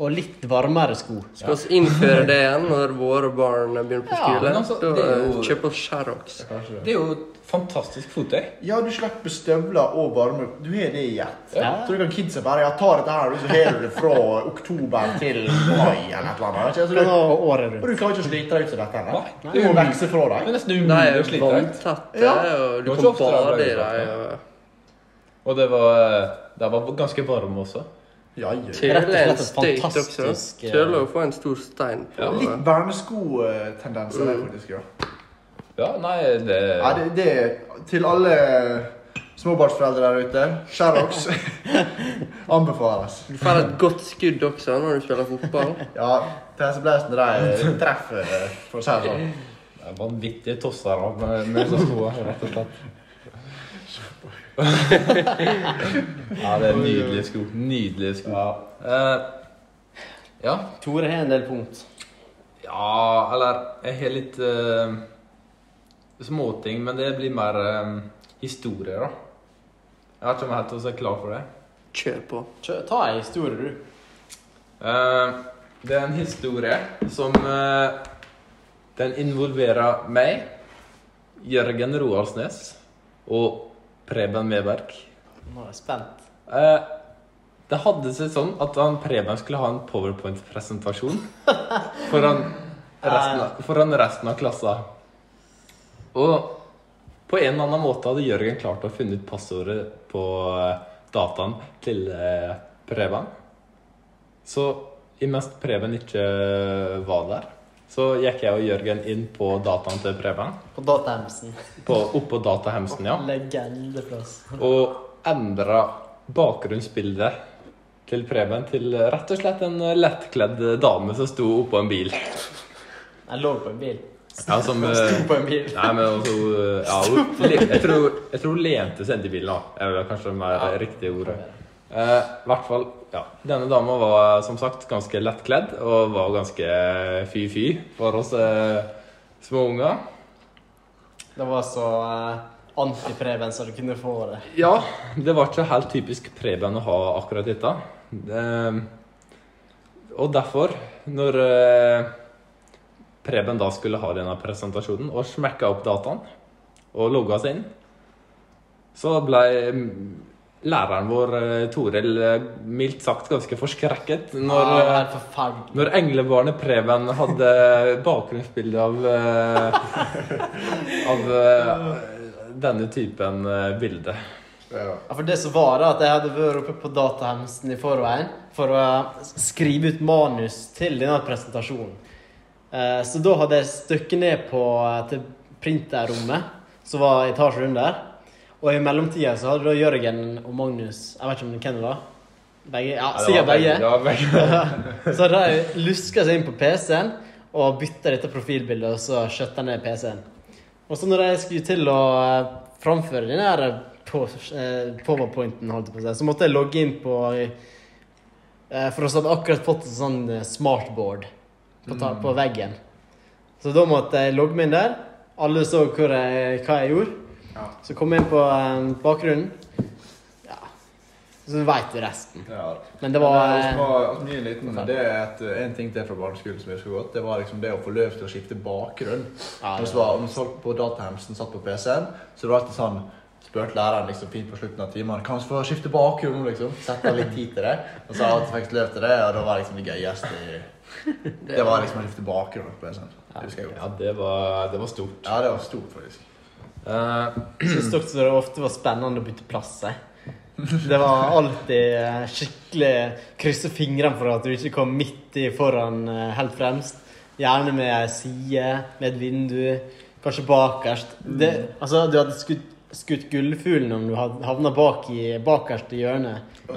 [SPEAKER 4] og litt varmere sko.
[SPEAKER 3] Skal vi innføre det igjen når våre barn begynner på
[SPEAKER 2] Ja,
[SPEAKER 3] skole?
[SPEAKER 2] men altså,
[SPEAKER 3] da
[SPEAKER 2] det er jo-
[SPEAKER 3] kjøper vi Sherrox.
[SPEAKER 2] Det er jo et fantastisk fottøy.
[SPEAKER 5] Ja, du slipper støvler og varme. Du har det i ett.
[SPEAKER 4] Ja.
[SPEAKER 5] Så du kan kidsa bare ja, ta dette her, og så har du det fra oktober til mai eller et eller annet. ikke?
[SPEAKER 4] Det
[SPEAKER 5] Altså,
[SPEAKER 4] var
[SPEAKER 5] du,
[SPEAKER 4] året
[SPEAKER 5] og
[SPEAKER 4] rundt.
[SPEAKER 5] du klarer ikke å slite deg ut som dette. her.
[SPEAKER 2] Nei.
[SPEAKER 5] Du må vokse fra
[SPEAKER 2] Det
[SPEAKER 5] deg.
[SPEAKER 2] er nesten
[SPEAKER 3] De er
[SPEAKER 2] umulig å
[SPEAKER 3] jo
[SPEAKER 2] slite deg ut.
[SPEAKER 3] vanntette,
[SPEAKER 5] Ja.
[SPEAKER 3] og du
[SPEAKER 2] Det var
[SPEAKER 3] kan
[SPEAKER 2] ikke ofte
[SPEAKER 3] bade
[SPEAKER 2] det
[SPEAKER 3] i
[SPEAKER 2] ble
[SPEAKER 3] dem.
[SPEAKER 2] Og det var, det var ganske varm også.
[SPEAKER 5] Ja, ja.
[SPEAKER 3] Kjøle
[SPEAKER 4] Rett og
[SPEAKER 3] er
[SPEAKER 4] slett
[SPEAKER 3] en
[SPEAKER 4] et
[SPEAKER 3] støyt også.
[SPEAKER 4] fantastisk, eh,
[SPEAKER 3] Kjøle å få en stor stein på.
[SPEAKER 5] Litt verneskotendenser der,
[SPEAKER 2] Mm.
[SPEAKER 5] faktisk. ja.
[SPEAKER 2] Ja, nei, det
[SPEAKER 5] Ja, det, det til alle småbarnsforeldre der ute. Sherrox anbefales.
[SPEAKER 3] Du får et godt skudd også når du spiller fotball.
[SPEAKER 5] Ja, Therese Blaisen de treffer, for å si det sånn.
[SPEAKER 2] Det er vanvittige tosser av med, med disse skoene, rett og slett. ja, det er nydelige sko. Nydelige sko. Ja. ja.
[SPEAKER 4] Tore har en del punkt.
[SPEAKER 2] ja, eller Jeg har litt eh, småting, men det blir mer eh, historie, da. Jeg vet ikke om jeg helt er klar for det.
[SPEAKER 3] Kjør på.
[SPEAKER 4] Kjø, ta ei historie, du.
[SPEAKER 2] Eh, det er en historie som eh, Den involverer meg, Jørgen Roaldsnes og Preben Meberg.
[SPEAKER 4] Nå er jeg spent.
[SPEAKER 2] Eh, det hadde seg sånn at han Preben skulle ha en powerpoint-presentasjon foran, resten av- foran resten av klassa. Og på en eller annen måte hadde Jørgen klart å finne ut passordet på eh, dataen til eh, Preben. Så imens Preben ikke eh, var der, så gikk jeg og Jørgen inn på dataen til Preben.
[SPEAKER 4] På datahemsen.
[SPEAKER 2] På, oppå datahemsen, ja
[SPEAKER 4] Legendeplass.
[SPEAKER 2] og endra bakgrunnsbildet til Preben til eh, rett og slett en eh, lettkledd dame som sto oppå en bil.
[SPEAKER 4] Jeg lå på en bil.
[SPEAKER 2] Ja, som eh,
[SPEAKER 4] Sto på en bil.
[SPEAKER 2] Nei, men altså eh, ja, hun, le- jeg, tror, jeg tror hun lente seg inn til bilen, da. Er vel kanskje det mer
[SPEAKER 4] Ja.
[SPEAKER 2] riktige ordet. Eh, I hvert fall, ja. Denne dama var eh, som sagt ganske lettkledd og var ganske fy-fy for oss eh, små unger.
[SPEAKER 4] Det var så eh, antipreven som du kunne få det.
[SPEAKER 2] Ja, det var ikke helt typisk Preben å ha akkurat dette. Det- Og derfor, når eh, Preben da skulle ha denne presentasjonen og smekka opp dataen og logga seg inn, så ble mm, læreren vår, eh, Toril, eh, mildt sagt ganske forskrekket når
[SPEAKER 4] ah,
[SPEAKER 2] eh,
[SPEAKER 4] helt forferdelig.
[SPEAKER 2] når englebarnet Preben hadde eh, bakgrunnsbilde av eh, Av eh, denne typen eh, bilde.
[SPEAKER 5] Ja.
[SPEAKER 4] Ja, for det som var da, at jeg hadde vært oppe på datahemsen i forveien for å eh, skrive ut manus til denne presentasjonen. Eh, Så da hadde jeg støkket ned på eh, til printerrommet, som var etasjen under. Og i mellomtida så hadde da Jørgen og Magnus Jeg vet ikke om hvem det var. Begge? Ja,
[SPEAKER 2] Ja, det
[SPEAKER 4] sikkert
[SPEAKER 2] var
[SPEAKER 4] begge.
[SPEAKER 2] Ja, begge.
[SPEAKER 4] Så hadde de luska seg inn på PC-en og bytta dette profilbildet, og så skjøtta ned PC-en. Og så når jeg skulle til å eh, framføre den her på, eh, powerpointen, holdt jeg på å si, så måtte jeg logge inn på eh, For vi hadde akkurat fått en sånn eh, smartboard på, ta, på veggen. Så da måtte jeg logge meg inn der. Alle så hvor jeg, hva jeg gjorde.
[SPEAKER 5] Ja.
[SPEAKER 4] Så kom jeg inn på eh, bakgrunnen. Ja. Så veit du resten.
[SPEAKER 5] Ja.
[SPEAKER 4] Men det var
[SPEAKER 5] Men, eh,
[SPEAKER 4] eh,
[SPEAKER 5] altså, altså, mye liten, det er et, en ting til fra barneskolen som jeg husker godt. Det var liksom det å få løp til å skifte bakgrunn.
[SPEAKER 4] Ja,
[SPEAKER 5] Mens
[SPEAKER 4] det
[SPEAKER 5] det var- mens folk på datahemsen satt på PC-en, så det var alltid sånn Spurte læreren liksom fint på slutten av timen Kan vi få skifte bakhjul nå, liksom. Sette av litt tid til det. Og så av og til fikk jeg løp til det, og da var liksom det gøyeste i- Det
[SPEAKER 3] Eh,
[SPEAKER 5] var liksom å skifte bakhjul. på en sånn. Det husker jeg godt.
[SPEAKER 2] Ja, det var, det var stort.
[SPEAKER 5] Ja, det var stort, faktisk.
[SPEAKER 2] Eh,
[SPEAKER 4] Syns dere det ofte var spennende å bytte plass? Jeg? Det var alltid eh, skikkelig krysse fingrene for at du ikke kom midt i foran eh, helt fremst. Gjerne med ei side, med et vindu, kanskje bakerst. Det, altså, du hadde skutt, skutt gullfuglen om du hadde havna bak i bakerste hjørne,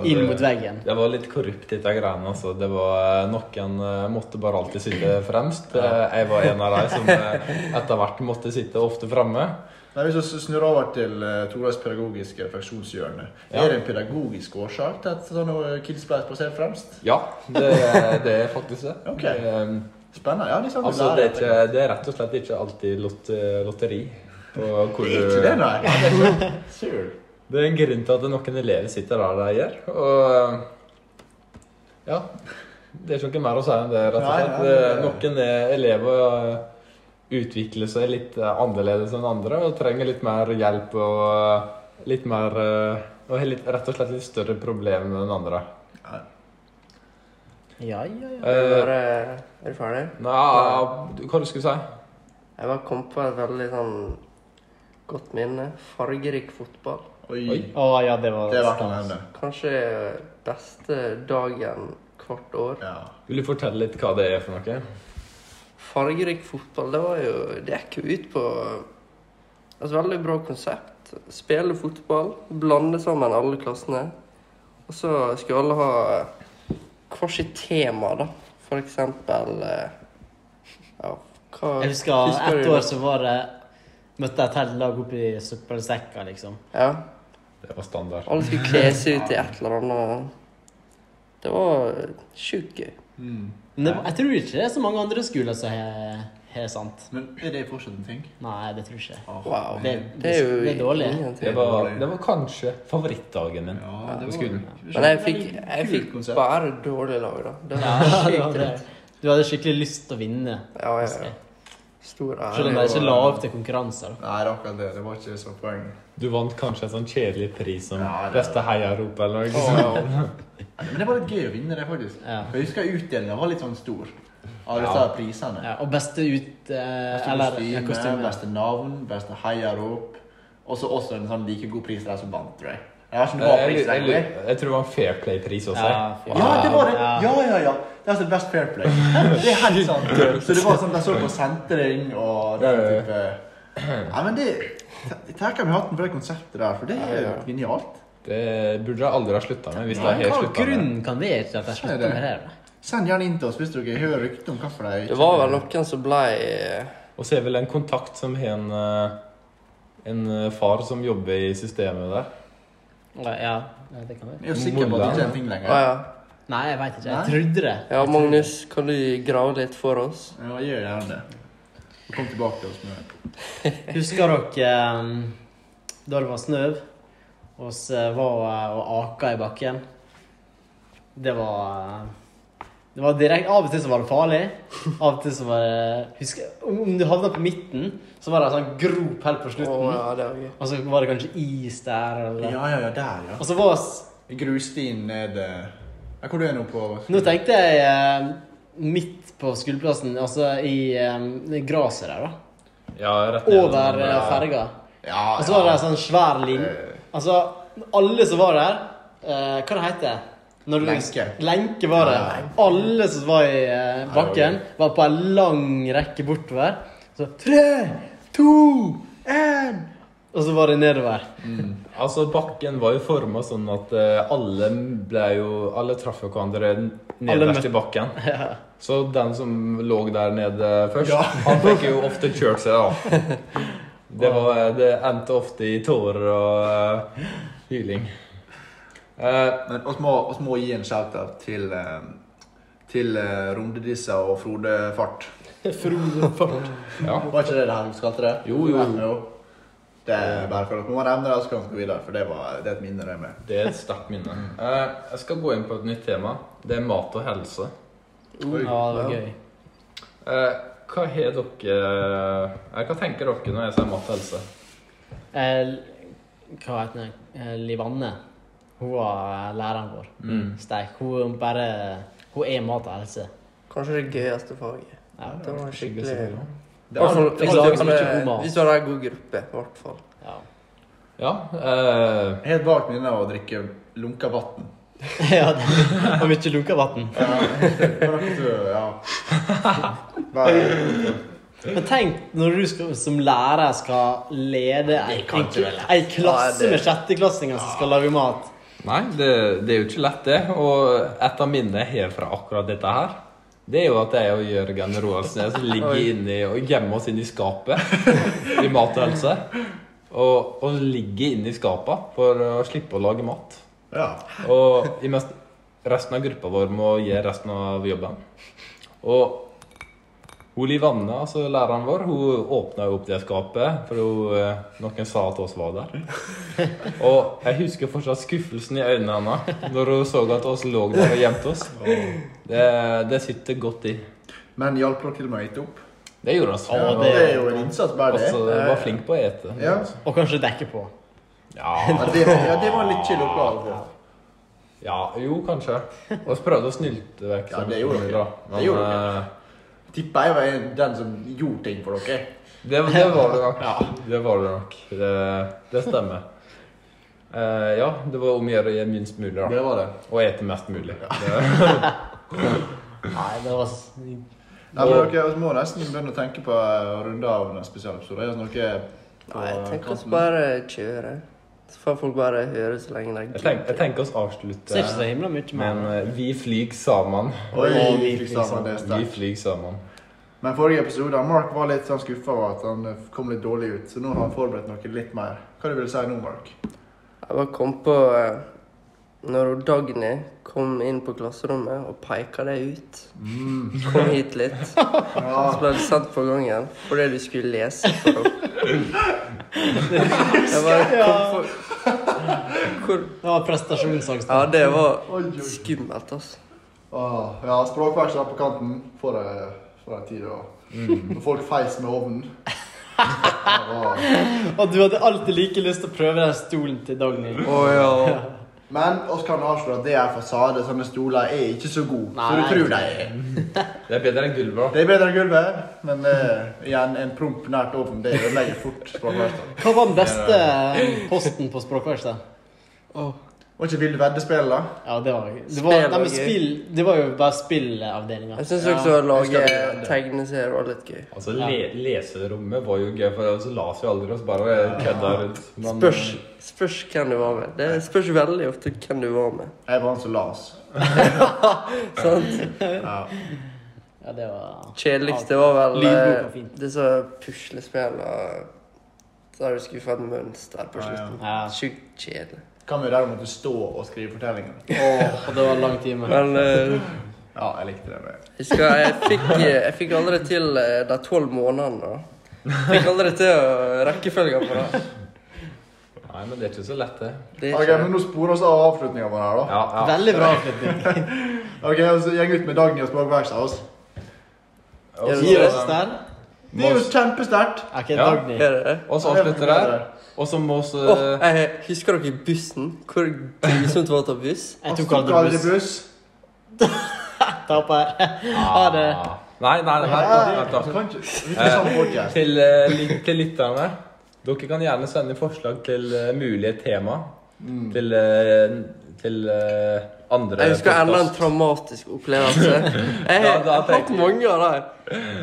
[SPEAKER 4] inn mot veggen.
[SPEAKER 2] det var litt korrupt, dette greiene. Altså. Det var Noen eh, måtte bare alltid sitte fremst. Eh, Jeg var en av de som eh, etter hvert måtte sitte ofte fremme.
[SPEAKER 5] Nei, Hvis vi snur over til uh, Torals pedagogiske refleksjonshjørne
[SPEAKER 2] Ja.
[SPEAKER 5] Er det en pedagogisk årsak til at sånne eh, kids ble plassert fremst?
[SPEAKER 2] Ja, det, det er faktisk det.
[SPEAKER 5] Ok.
[SPEAKER 2] Eh,
[SPEAKER 5] Spennende. ja, liksom,
[SPEAKER 2] Altså, det er, ikke, det er rett og slett ikke alltid lot, lotteri. På hvor
[SPEAKER 5] Det er ikke det,
[SPEAKER 2] du,
[SPEAKER 5] nei. Ja, det er sant. Sure.
[SPEAKER 2] det er en grunn til at noen elever sitter der de gjør. Og ja. Det er ikke noe mer å si enn det, rett og
[SPEAKER 5] Nei,
[SPEAKER 2] slett.
[SPEAKER 5] nei, det-
[SPEAKER 2] Noen eh, elever eh, utvikler seg litt eh, annerledes enn andre og trenger litt mer hjelp og eh, litt mer eh, Og har litt, rett og slett litt større problemer enn andre.
[SPEAKER 4] Ja, ja, ja.
[SPEAKER 3] Er du
[SPEAKER 2] Eh,
[SPEAKER 3] bare, er du ferdig?
[SPEAKER 2] Nei, hva du skulle si?
[SPEAKER 3] Jeg bare kom på et veldig sånn godt minne. Fargerik fotball.
[SPEAKER 5] Oi.
[SPEAKER 2] Oi.
[SPEAKER 4] Å ja, det var
[SPEAKER 5] Det er verdt å nevne.
[SPEAKER 3] Kanskje beste dagen hvert år.
[SPEAKER 5] Ja.
[SPEAKER 2] Vil du fortelle litt hva det er for noe?
[SPEAKER 3] Fargerik fotball, det var jo Det gikk jo ut på et veldig bra konsept. Spille fotball, blande sammen alle klassene. Og så skulle alle ha hvert sitt tema, da. For eksempel eh, Ja, hva
[SPEAKER 4] Jeg husker ett
[SPEAKER 3] du?
[SPEAKER 4] år så var det Møtte jeg et helt lag oppi søppelsekker, liksom.
[SPEAKER 3] Ja.
[SPEAKER 2] Det var standard.
[SPEAKER 3] Alle skulle kle seg ut i et eller annet. Det var eh, sjukt gøy.
[SPEAKER 5] Mm.
[SPEAKER 4] Men det, jeg tror ikke det er så mange andre skoler som har har sånt.
[SPEAKER 5] Men er det fortsatt en ting?
[SPEAKER 4] Nei, det tror jeg ikke.
[SPEAKER 5] Ah,
[SPEAKER 3] Wow.
[SPEAKER 4] Det,
[SPEAKER 3] Det er jo
[SPEAKER 4] det er dårlig.
[SPEAKER 3] ingenting.
[SPEAKER 2] Det var, det var kanskje favorittdagen min.
[SPEAKER 5] Ja,
[SPEAKER 2] på skolen.
[SPEAKER 3] Men jeg fikk, jeg
[SPEAKER 5] Kult
[SPEAKER 3] fikk
[SPEAKER 5] konsept.
[SPEAKER 3] bare dårlig lag, da. Det
[SPEAKER 4] Ja,
[SPEAKER 3] var
[SPEAKER 4] det
[SPEAKER 3] sykt
[SPEAKER 4] var det.
[SPEAKER 3] dritt.
[SPEAKER 4] Du hadde skikkelig lyst til å vinne.
[SPEAKER 3] Ja, ja,
[SPEAKER 4] husker
[SPEAKER 3] ja.
[SPEAKER 4] jeg.
[SPEAKER 3] Stor
[SPEAKER 4] Selv om
[SPEAKER 3] ære.
[SPEAKER 4] de ikke la opp til konkurranser. da.
[SPEAKER 5] Nei, det er akkurat det. Det var ikke så poeng.
[SPEAKER 2] Du vant kanskje en sånn kjedelig pris som
[SPEAKER 5] Ja, det-
[SPEAKER 2] beste heiarop eller noe sånt.
[SPEAKER 5] Nei, Men det var litt gøy å vinne det, faktisk.
[SPEAKER 4] Ja.
[SPEAKER 5] For Jeg husker utdelingen var litt sånn stor. Av disse
[SPEAKER 2] Ja.
[SPEAKER 5] her prisene.
[SPEAKER 4] Ja, og beste ut eh,
[SPEAKER 5] Beste
[SPEAKER 4] Eller ja,
[SPEAKER 5] kostyme,
[SPEAKER 4] kostyme.
[SPEAKER 5] beste navn, beste heiarop. Og så også en sånn like god pris til de som vant, tror jeg. Jeg har ikke noe bra
[SPEAKER 2] Eh, Jeg,
[SPEAKER 5] pris
[SPEAKER 2] jeg,
[SPEAKER 5] lenger.
[SPEAKER 2] jeg, jeg tror det var en Fair Play-pris også.
[SPEAKER 4] Ja, fair.
[SPEAKER 5] Ja, det var det.
[SPEAKER 4] Ja.
[SPEAKER 5] Ja, ja, ja. Det er altså best fair play. Det er helt sant. Så det var sånn, de så på sentring og den
[SPEAKER 2] Ja, ja, ja.
[SPEAKER 5] type Nei, men det Jeg takker meg hatten for det konseptet der, for det er jo genialt.
[SPEAKER 2] Det burde jeg aldri ha slutta med. hvis
[SPEAKER 5] Nei,
[SPEAKER 2] jeg
[SPEAKER 4] Hva
[SPEAKER 2] har sluttet med.
[SPEAKER 4] grunnen kan være til at de slutter med Sånn det? da?
[SPEAKER 5] Send gjerne inn til oss hvis dere hører rykter om hvorfor de
[SPEAKER 3] Det var vel noen som ble eh,
[SPEAKER 2] Og så er vel en kontakt som har en, eh, en eh, far som jobber i systemet der.
[SPEAKER 4] Ja, ja, det kan være.
[SPEAKER 5] Jeg er jo sikker på at det ikke er en ting
[SPEAKER 3] Å
[SPEAKER 5] lenger.
[SPEAKER 3] ja.
[SPEAKER 4] Nei, jeg veit ikke.
[SPEAKER 5] Nei.
[SPEAKER 4] Jeg trodde det.
[SPEAKER 3] Ja, Magnus, kan du grave litt for oss?
[SPEAKER 5] Ja, gjør gjerne det. Og kom tilbake til oss med
[SPEAKER 4] Husker dere eh, da det var snøv, og vi var eh, og aka i bakken? Det var eh, Det var direkte Av og til så var det farlig. Av og til så var det husker, Om om du havna på midten, så var det en sånn grop helt på
[SPEAKER 3] Å
[SPEAKER 4] slutten.
[SPEAKER 3] ja, det var gøy.
[SPEAKER 4] Og så var det kanskje is der, eller
[SPEAKER 5] Ja, ja, ja, der, ja.
[SPEAKER 4] Og så var oss
[SPEAKER 5] Grustien ned eh, Ja, hvor du er nå på
[SPEAKER 4] Nå tenkte jeg eh, midt på skuldplassen, altså i eh, gresset der, da.
[SPEAKER 2] Ja, rett ned
[SPEAKER 4] Over
[SPEAKER 2] under-
[SPEAKER 4] eh, ferga.
[SPEAKER 5] Ja,
[SPEAKER 4] Og så var det
[SPEAKER 5] ja.
[SPEAKER 4] en sånn svær linje.
[SPEAKER 5] Eh.
[SPEAKER 4] Altså, alle som var der eh, Hva det heter det? Når du-
[SPEAKER 5] Lenke.
[SPEAKER 4] Lenke var det. Alle som var i eh, bakken, var på en lang rekke bortover. Så tre, to, én Og så var det nedover.
[SPEAKER 2] Altså, Bakken var jo forma sånn at eh, alle ble jo Alle traff jo hverandre nederst
[SPEAKER 4] møtte-
[SPEAKER 2] i bakken. Så den som lå der nede først, han fikk jo ofte kjørt seg av. Det, var, det endte ofte i tårer og eh, hyling. Eh,
[SPEAKER 5] Men oss må, oss må gi en shout-out til, eh, til eh, Rondedissa og Frode Fart.
[SPEAKER 4] Frode Fart.
[SPEAKER 2] ja.
[SPEAKER 5] Var ikke det det her du kalte det?
[SPEAKER 2] Jo, jo.
[SPEAKER 5] Det er bare for at man nevner det, så kan vi gå videre, for det, var, det er et minne det med.
[SPEAKER 2] Det er et sterkt minne. Eh, jeg skal gå inn på et nytt tema. Det er mat og helse.
[SPEAKER 5] Oi.
[SPEAKER 4] Ja, det var gøy.
[SPEAKER 2] Eh, hva har dere eh, Hva tenker dere når jeg sier mat og helse?
[SPEAKER 4] Eh, Hva heter hun? Eh, Liv Anne. Hun var eh, læreren vår.
[SPEAKER 2] Mm.
[SPEAKER 4] Steik. Hun bare Hun er mat og helse.
[SPEAKER 3] Kanskje det gøyeste faget.
[SPEAKER 4] Ja,
[SPEAKER 3] Det var
[SPEAKER 2] Skikkelig
[SPEAKER 3] skikkelig
[SPEAKER 2] sikker på.
[SPEAKER 5] Det var-
[SPEAKER 3] Hvertfall-
[SPEAKER 4] det var-
[SPEAKER 3] hvis du
[SPEAKER 4] det
[SPEAKER 3] hadde-
[SPEAKER 4] var mye god mat.
[SPEAKER 3] eh, Hvis du hadde en god gruppe, i hvert fall.
[SPEAKER 4] ja.
[SPEAKER 2] Ja. eh,
[SPEAKER 5] Helt vagt minne av å drikke lunka vann.
[SPEAKER 4] ja det var mye lunka vann.
[SPEAKER 5] Ja. Bare-
[SPEAKER 4] Men tenk når du skal, som lærer skal lede ei,
[SPEAKER 5] Det kan ikke
[SPEAKER 4] en-
[SPEAKER 5] være lett.
[SPEAKER 4] ei
[SPEAKER 3] Nei,
[SPEAKER 4] klasse
[SPEAKER 3] det-
[SPEAKER 4] med sjetteklassinger som skal lage mat.
[SPEAKER 2] Nei, det, det er jo ikke lett, det. Og et av minnene jeg har fra akkurat dette her, det er jo at jeg og Jørgen Roaldsnes ligger
[SPEAKER 3] Oi.
[SPEAKER 2] inni og gjemmer oss inni skapet i Mat og helse. Og, og ligger inni skapet for å slippe å lage mat.
[SPEAKER 5] ja.
[SPEAKER 2] Og i mest, resten av gruppa vår må gjøre resten av jobben. Og hun Liv Anne, altså læreren vår, hun åpna jo opp det skapet, for hun, eh, noen sa at oss var der. Og jeg husker fortsatt skuffelsen i øynene hennes når hun så at oss lå der og gjemte oss. Det, det sitter godt i.
[SPEAKER 5] Men hjalp dere til med å ete opp?
[SPEAKER 2] Det gjorde oss.
[SPEAKER 5] Ja,
[SPEAKER 4] Ja,
[SPEAKER 5] det
[SPEAKER 4] det-
[SPEAKER 5] er jo en innsats, bare det.
[SPEAKER 2] Altså, var flink på å ete.
[SPEAKER 5] Ja.
[SPEAKER 4] Og kanskje dekke på.
[SPEAKER 2] Ja,
[SPEAKER 5] Ja, det, ja, det var en litt chill oppgave. for.
[SPEAKER 2] ja jo, kanskje. Vi prøvde å snylte vekk.
[SPEAKER 5] Ja, det gjorde dere.
[SPEAKER 2] Men,
[SPEAKER 5] Det gjorde dere.
[SPEAKER 2] eh,
[SPEAKER 5] Tipper jeg var en- den som gjorde ting for dere.
[SPEAKER 2] Det, det var det nok. Det var det nok. Det, det stemmer. Eh, ja, det var om å gjøre å gjøre minst mulig, da.
[SPEAKER 5] Det var det.
[SPEAKER 2] Og ete mest mulig.
[SPEAKER 4] Nei, det var s-
[SPEAKER 5] Nei, men dere må nesten begynne å tenke på eh, å runde av en spesialepisode. Er sånn, det noe på
[SPEAKER 3] Nei, jeg tenker oss
[SPEAKER 5] kanten?
[SPEAKER 3] bare kjøre. Så får folk bare høre så lenge de
[SPEAKER 2] Jeg, tenk, jeg tenker oss
[SPEAKER 4] ser ikke så
[SPEAKER 2] avslutte
[SPEAKER 4] himla mye
[SPEAKER 2] med
[SPEAKER 4] mer.
[SPEAKER 2] en eh, Vi flyg sammen.
[SPEAKER 5] Oi, liksom.
[SPEAKER 4] Å,
[SPEAKER 5] vi
[SPEAKER 4] vi
[SPEAKER 5] fikk
[SPEAKER 4] fikk
[SPEAKER 5] sammen det
[SPEAKER 2] Vi
[SPEAKER 5] sterkt.
[SPEAKER 2] flyg sammen.
[SPEAKER 5] Men forrige episode, Mark var litt sånn skuffa over at han eh, kom litt dårlig ut. Så nå har han forberedt noe litt mer. Hva du vil du si nå, Mark?
[SPEAKER 3] Jeg bare kom på eh, Når hun Dagny kom inn på klasserommet og peka deg ut Kom hit litt. Så ble du sendt på gangen fordi du skulle lese for henne. Jeg bare kom på Hvor
[SPEAKER 4] Det var prestasjonsangst.
[SPEAKER 3] Ja, det
[SPEAKER 5] Oi, oi,
[SPEAKER 3] var
[SPEAKER 5] oi.
[SPEAKER 3] skummelt, altså.
[SPEAKER 5] Åh, ja, språkveksler på kanten for ei, for ei tid. Og, og folk feis med ovnen. Ja,
[SPEAKER 4] Og du hadde alltid like lyst til å prøve den stolen til Dagny.
[SPEAKER 3] Å ja.
[SPEAKER 5] men vi kan avslå at det er fasade. Sånne stoler er ikke så gode som du
[SPEAKER 4] Nei.
[SPEAKER 5] tror de er.
[SPEAKER 2] Det er bedre enn gulvet. da.
[SPEAKER 5] Det er bedre enn gulvet, men eh, igjen, en promp nært ovnen det ødelegger fort språkverkstedet.
[SPEAKER 4] Hva var den beste eh, posten på språkverkstedet?
[SPEAKER 5] Og ikke ville veddespill, da.
[SPEAKER 4] Ja, det var, det
[SPEAKER 3] Spill
[SPEAKER 4] var, nei,
[SPEAKER 3] var
[SPEAKER 4] men
[SPEAKER 3] gøy.
[SPEAKER 4] spill, det var jo bare spillavdelinga.
[SPEAKER 3] Jeg syns også å
[SPEAKER 5] jeg skal
[SPEAKER 3] lage
[SPEAKER 5] bli redd.
[SPEAKER 3] tegneserier var litt gøy.
[SPEAKER 2] Altså, le, leserommet var jo gøy, for ellers la oss jo aldri oss bare kødda rundt. Men,
[SPEAKER 3] Spørs, spørs hvem du var med. Det spørs veldig ofte hvem du var med.
[SPEAKER 5] Jeg var han som la oss.
[SPEAKER 3] Sant?
[SPEAKER 4] Ja, det var
[SPEAKER 3] Kjedeligste var vel
[SPEAKER 4] Lydbok var
[SPEAKER 3] eh,
[SPEAKER 4] fint.
[SPEAKER 3] disse puslespillene der du skulle få et mønster på slutten.
[SPEAKER 4] Ja.
[SPEAKER 3] Sjukt kjedelig.
[SPEAKER 5] Kan vi derimot stå og skrive fortellinger?
[SPEAKER 4] Åh, og det var en lang time.
[SPEAKER 3] Men eh,
[SPEAKER 5] Ja, jeg likte det. med.
[SPEAKER 3] jeg, skal, jeg, fikk, eh, jeg fikk aldri til eh, de tolv månedene. da. Fikk aldri til å rekkefølge på det.
[SPEAKER 2] Nei, men det er ikke så lett, det.
[SPEAKER 3] Det er
[SPEAKER 5] Ok,
[SPEAKER 3] ikke
[SPEAKER 5] men Nå sporer oss av avslutninga vår her, da.
[SPEAKER 2] Ja, ja.
[SPEAKER 4] Veldig bra avslutning.
[SPEAKER 5] Ok, altså, Gjeng ut med Dagny og språkverkstedet oss.
[SPEAKER 2] Og
[SPEAKER 3] Gi
[SPEAKER 4] Gir
[SPEAKER 3] oss
[SPEAKER 4] oss
[SPEAKER 2] så,
[SPEAKER 4] der.
[SPEAKER 5] Det er jo kjempesterkt.
[SPEAKER 4] Ok,
[SPEAKER 2] Ja.
[SPEAKER 4] Dagny.
[SPEAKER 3] Er det det?
[SPEAKER 2] og så avslutter det her. Og så må eh, vi
[SPEAKER 3] Åh, jeg husker dere bussen? Hvor grusomt var det å ta buss?
[SPEAKER 4] Jeg tok
[SPEAKER 5] Astrid
[SPEAKER 4] aldri buss.
[SPEAKER 5] Kaldebus.
[SPEAKER 4] Taper. Ha det.
[SPEAKER 2] Ah. Nei, nei, nei.
[SPEAKER 5] Nei,
[SPEAKER 2] vent da.
[SPEAKER 5] kan ikke- vi skal sammen podcast.
[SPEAKER 2] Til, eh, ly- til lytterne. Dere kan gjerne sende forslag til eh, mulige tema. Til, eh, til eh, andre
[SPEAKER 3] Jeg husker enda en
[SPEAKER 2] podcast.
[SPEAKER 3] traumatisk opplevelse. Jeg
[SPEAKER 2] Ja,
[SPEAKER 3] har
[SPEAKER 2] da
[SPEAKER 3] hatt
[SPEAKER 2] tenker jeg.
[SPEAKER 3] mange av dem.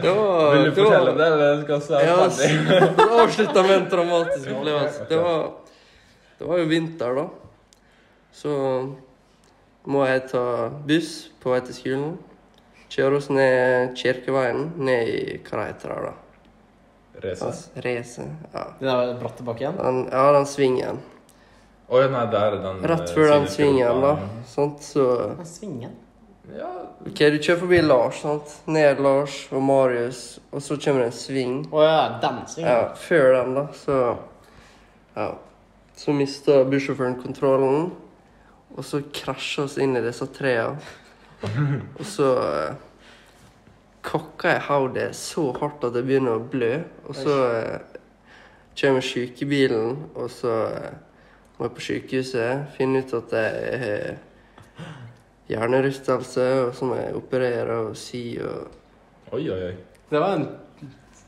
[SPEAKER 3] Det var
[SPEAKER 2] Vil du
[SPEAKER 3] det var-
[SPEAKER 2] fortelle det? eller skal jeg
[SPEAKER 3] Ja,
[SPEAKER 2] være
[SPEAKER 3] s-
[SPEAKER 2] ferdig?
[SPEAKER 3] avslutta med en traumatisk opplevelse. Det var, det var jo vinter, da. Så må jeg ta buss på vei til skolen. Kjøre oss ned Kirkeveien, ned i hva det heter det, da?
[SPEAKER 2] Resus.
[SPEAKER 3] Rese. Ja.
[SPEAKER 4] Den der bratte bakken.
[SPEAKER 3] Den, ja, den svingen.
[SPEAKER 2] Oi, nei, der er den
[SPEAKER 3] Rett
[SPEAKER 2] eh,
[SPEAKER 3] før den svingen, da.
[SPEAKER 2] sidepiloten.
[SPEAKER 3] Sant, så
[SPEAKER 4] Den svingen.
[SPEAKER 2] Ja,
[SPEAKER 3] OK, du kjører forbi Lars, sant? Ned Lars og Marius, og så kommer det en sving.
[SPEAKER 4] Å ja, den svingen.
[SPEAKER 3] Ja, før den, da, så Ja. Så mista bussjåføren kontrollen, og så krasja oss inn i disse trærne. Og så eh, kokka jeg hodet så hardt at jeg begynner å blø, og så eh, kommer sjukebilen, og så eh, Må på sykehuset, finne ut at jeg har hjernerystelse, og så må jeg operere og si og
[SPEAKER 2] Oi, oi, oi.
[SPEAKER 4] Det var en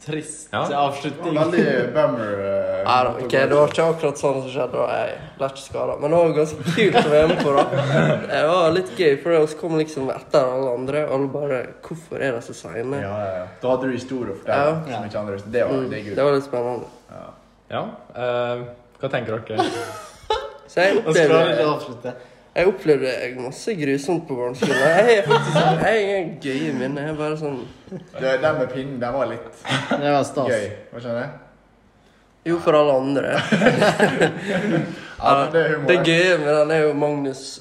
[SPEAKER 4] trist
[SPEAKER 2] Ja.
[SPEAKER 4] avslutning.
[SPEAKER 5] Veldig bummer. eh,
[SPEAKER 3] Nei da, ok, det var ikke akkurat sånn som skjedde. da. Jeg ble ikke skada. Men det var ganske kult å være med på, da. Det var litt gøy, for det kom liksom etter alle andre. Alle bare 'Hvorfor er de så seine?'
[SPEAKER 5] Ja, ja, ja. Da hadde du historier å fortelle.
[SPEAKER 4] Ja.
[SPEAKER 5] Som ikke andre visste. Det var
[SPEAKER 3] Mm,
[SPEAKER 5] det er
[SPEAKER 3] det
[SPEAKER 5] gull.
[SPEAKER 3] var litt spennende.
[SPEAKER 2] Ja, eh, hva tenker dere?
[SPEAKER 3] Så jeg
[SPEAKER 4] Og så klarer vi
[SPEAKER 3] opplevde,
[SPEAKER 4] ikke å avslutte.
[SPEAKER 3] jeg opplevde masse grusomt på barneskolen. Jeg er faktisk sånn, jeg er gøye minner. Jeg er bare sånn
[SPEAKER 5] Det- Den med pinnen, den var litt
[SPEAKER 4] Det var stas.
[SPEAKER 5] gøy. Hva skjønner jeg?
[SPEAKER 3] Jo, for alle andre.
[SPEAKER 5] Ja, men det er humor.
[SPEAKER 3] Det gøye med den er jo Magnus.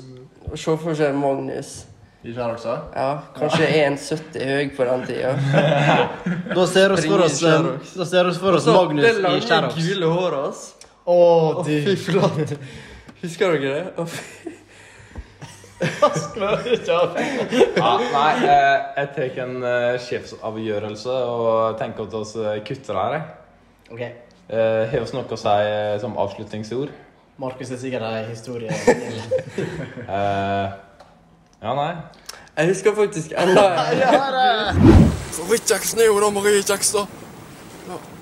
[SPEAKER 3] Se for seg Magnus.
[SPEAKER 5] Ikke han også?
[SPEAKER 3] Ja, kanskje 1,70 høy på den tida.
[SPEAKER 4] Da ser vi for oss, eh,
[SPEAKER 3] Ring i Xerox.
[SPEAKER 4] da ser vi for oss
[SPEAKER 3] det
[SPEAKER 4] Magnus i
[SPEAKER 3] lange,
[SPEAKER 4] Xerox.
[SPEAKER 3] gule håret hans.
[SPEAKER 4] Å,
[SPEAKER 3] Å, fy
[SPEAKER 4] du
[SPEAKER 3] flate. Husker dere det? Å, fy-
[SPEAKER 4] klarer ikke å
[SPEAKER 2] Ja, nei, eh, jeg tar en eh, sjefsavgjørelse og tenker at oss eh, kutter her. jeg.
[SPEAKER 4] Ok,
[SPEAKER 2] Eh, Har vi noe å si eh, som avslutningsord?
[SPEAKER 4] Markus er sikkert ei historie.
[SPEAKER 2] Eh, ja, nei.
[SPEAKER 3] Jeg husker faktisk enda
[SPEAKER 1] Fabrikk-Jackson er jo da Marie Jackson. da. Ja.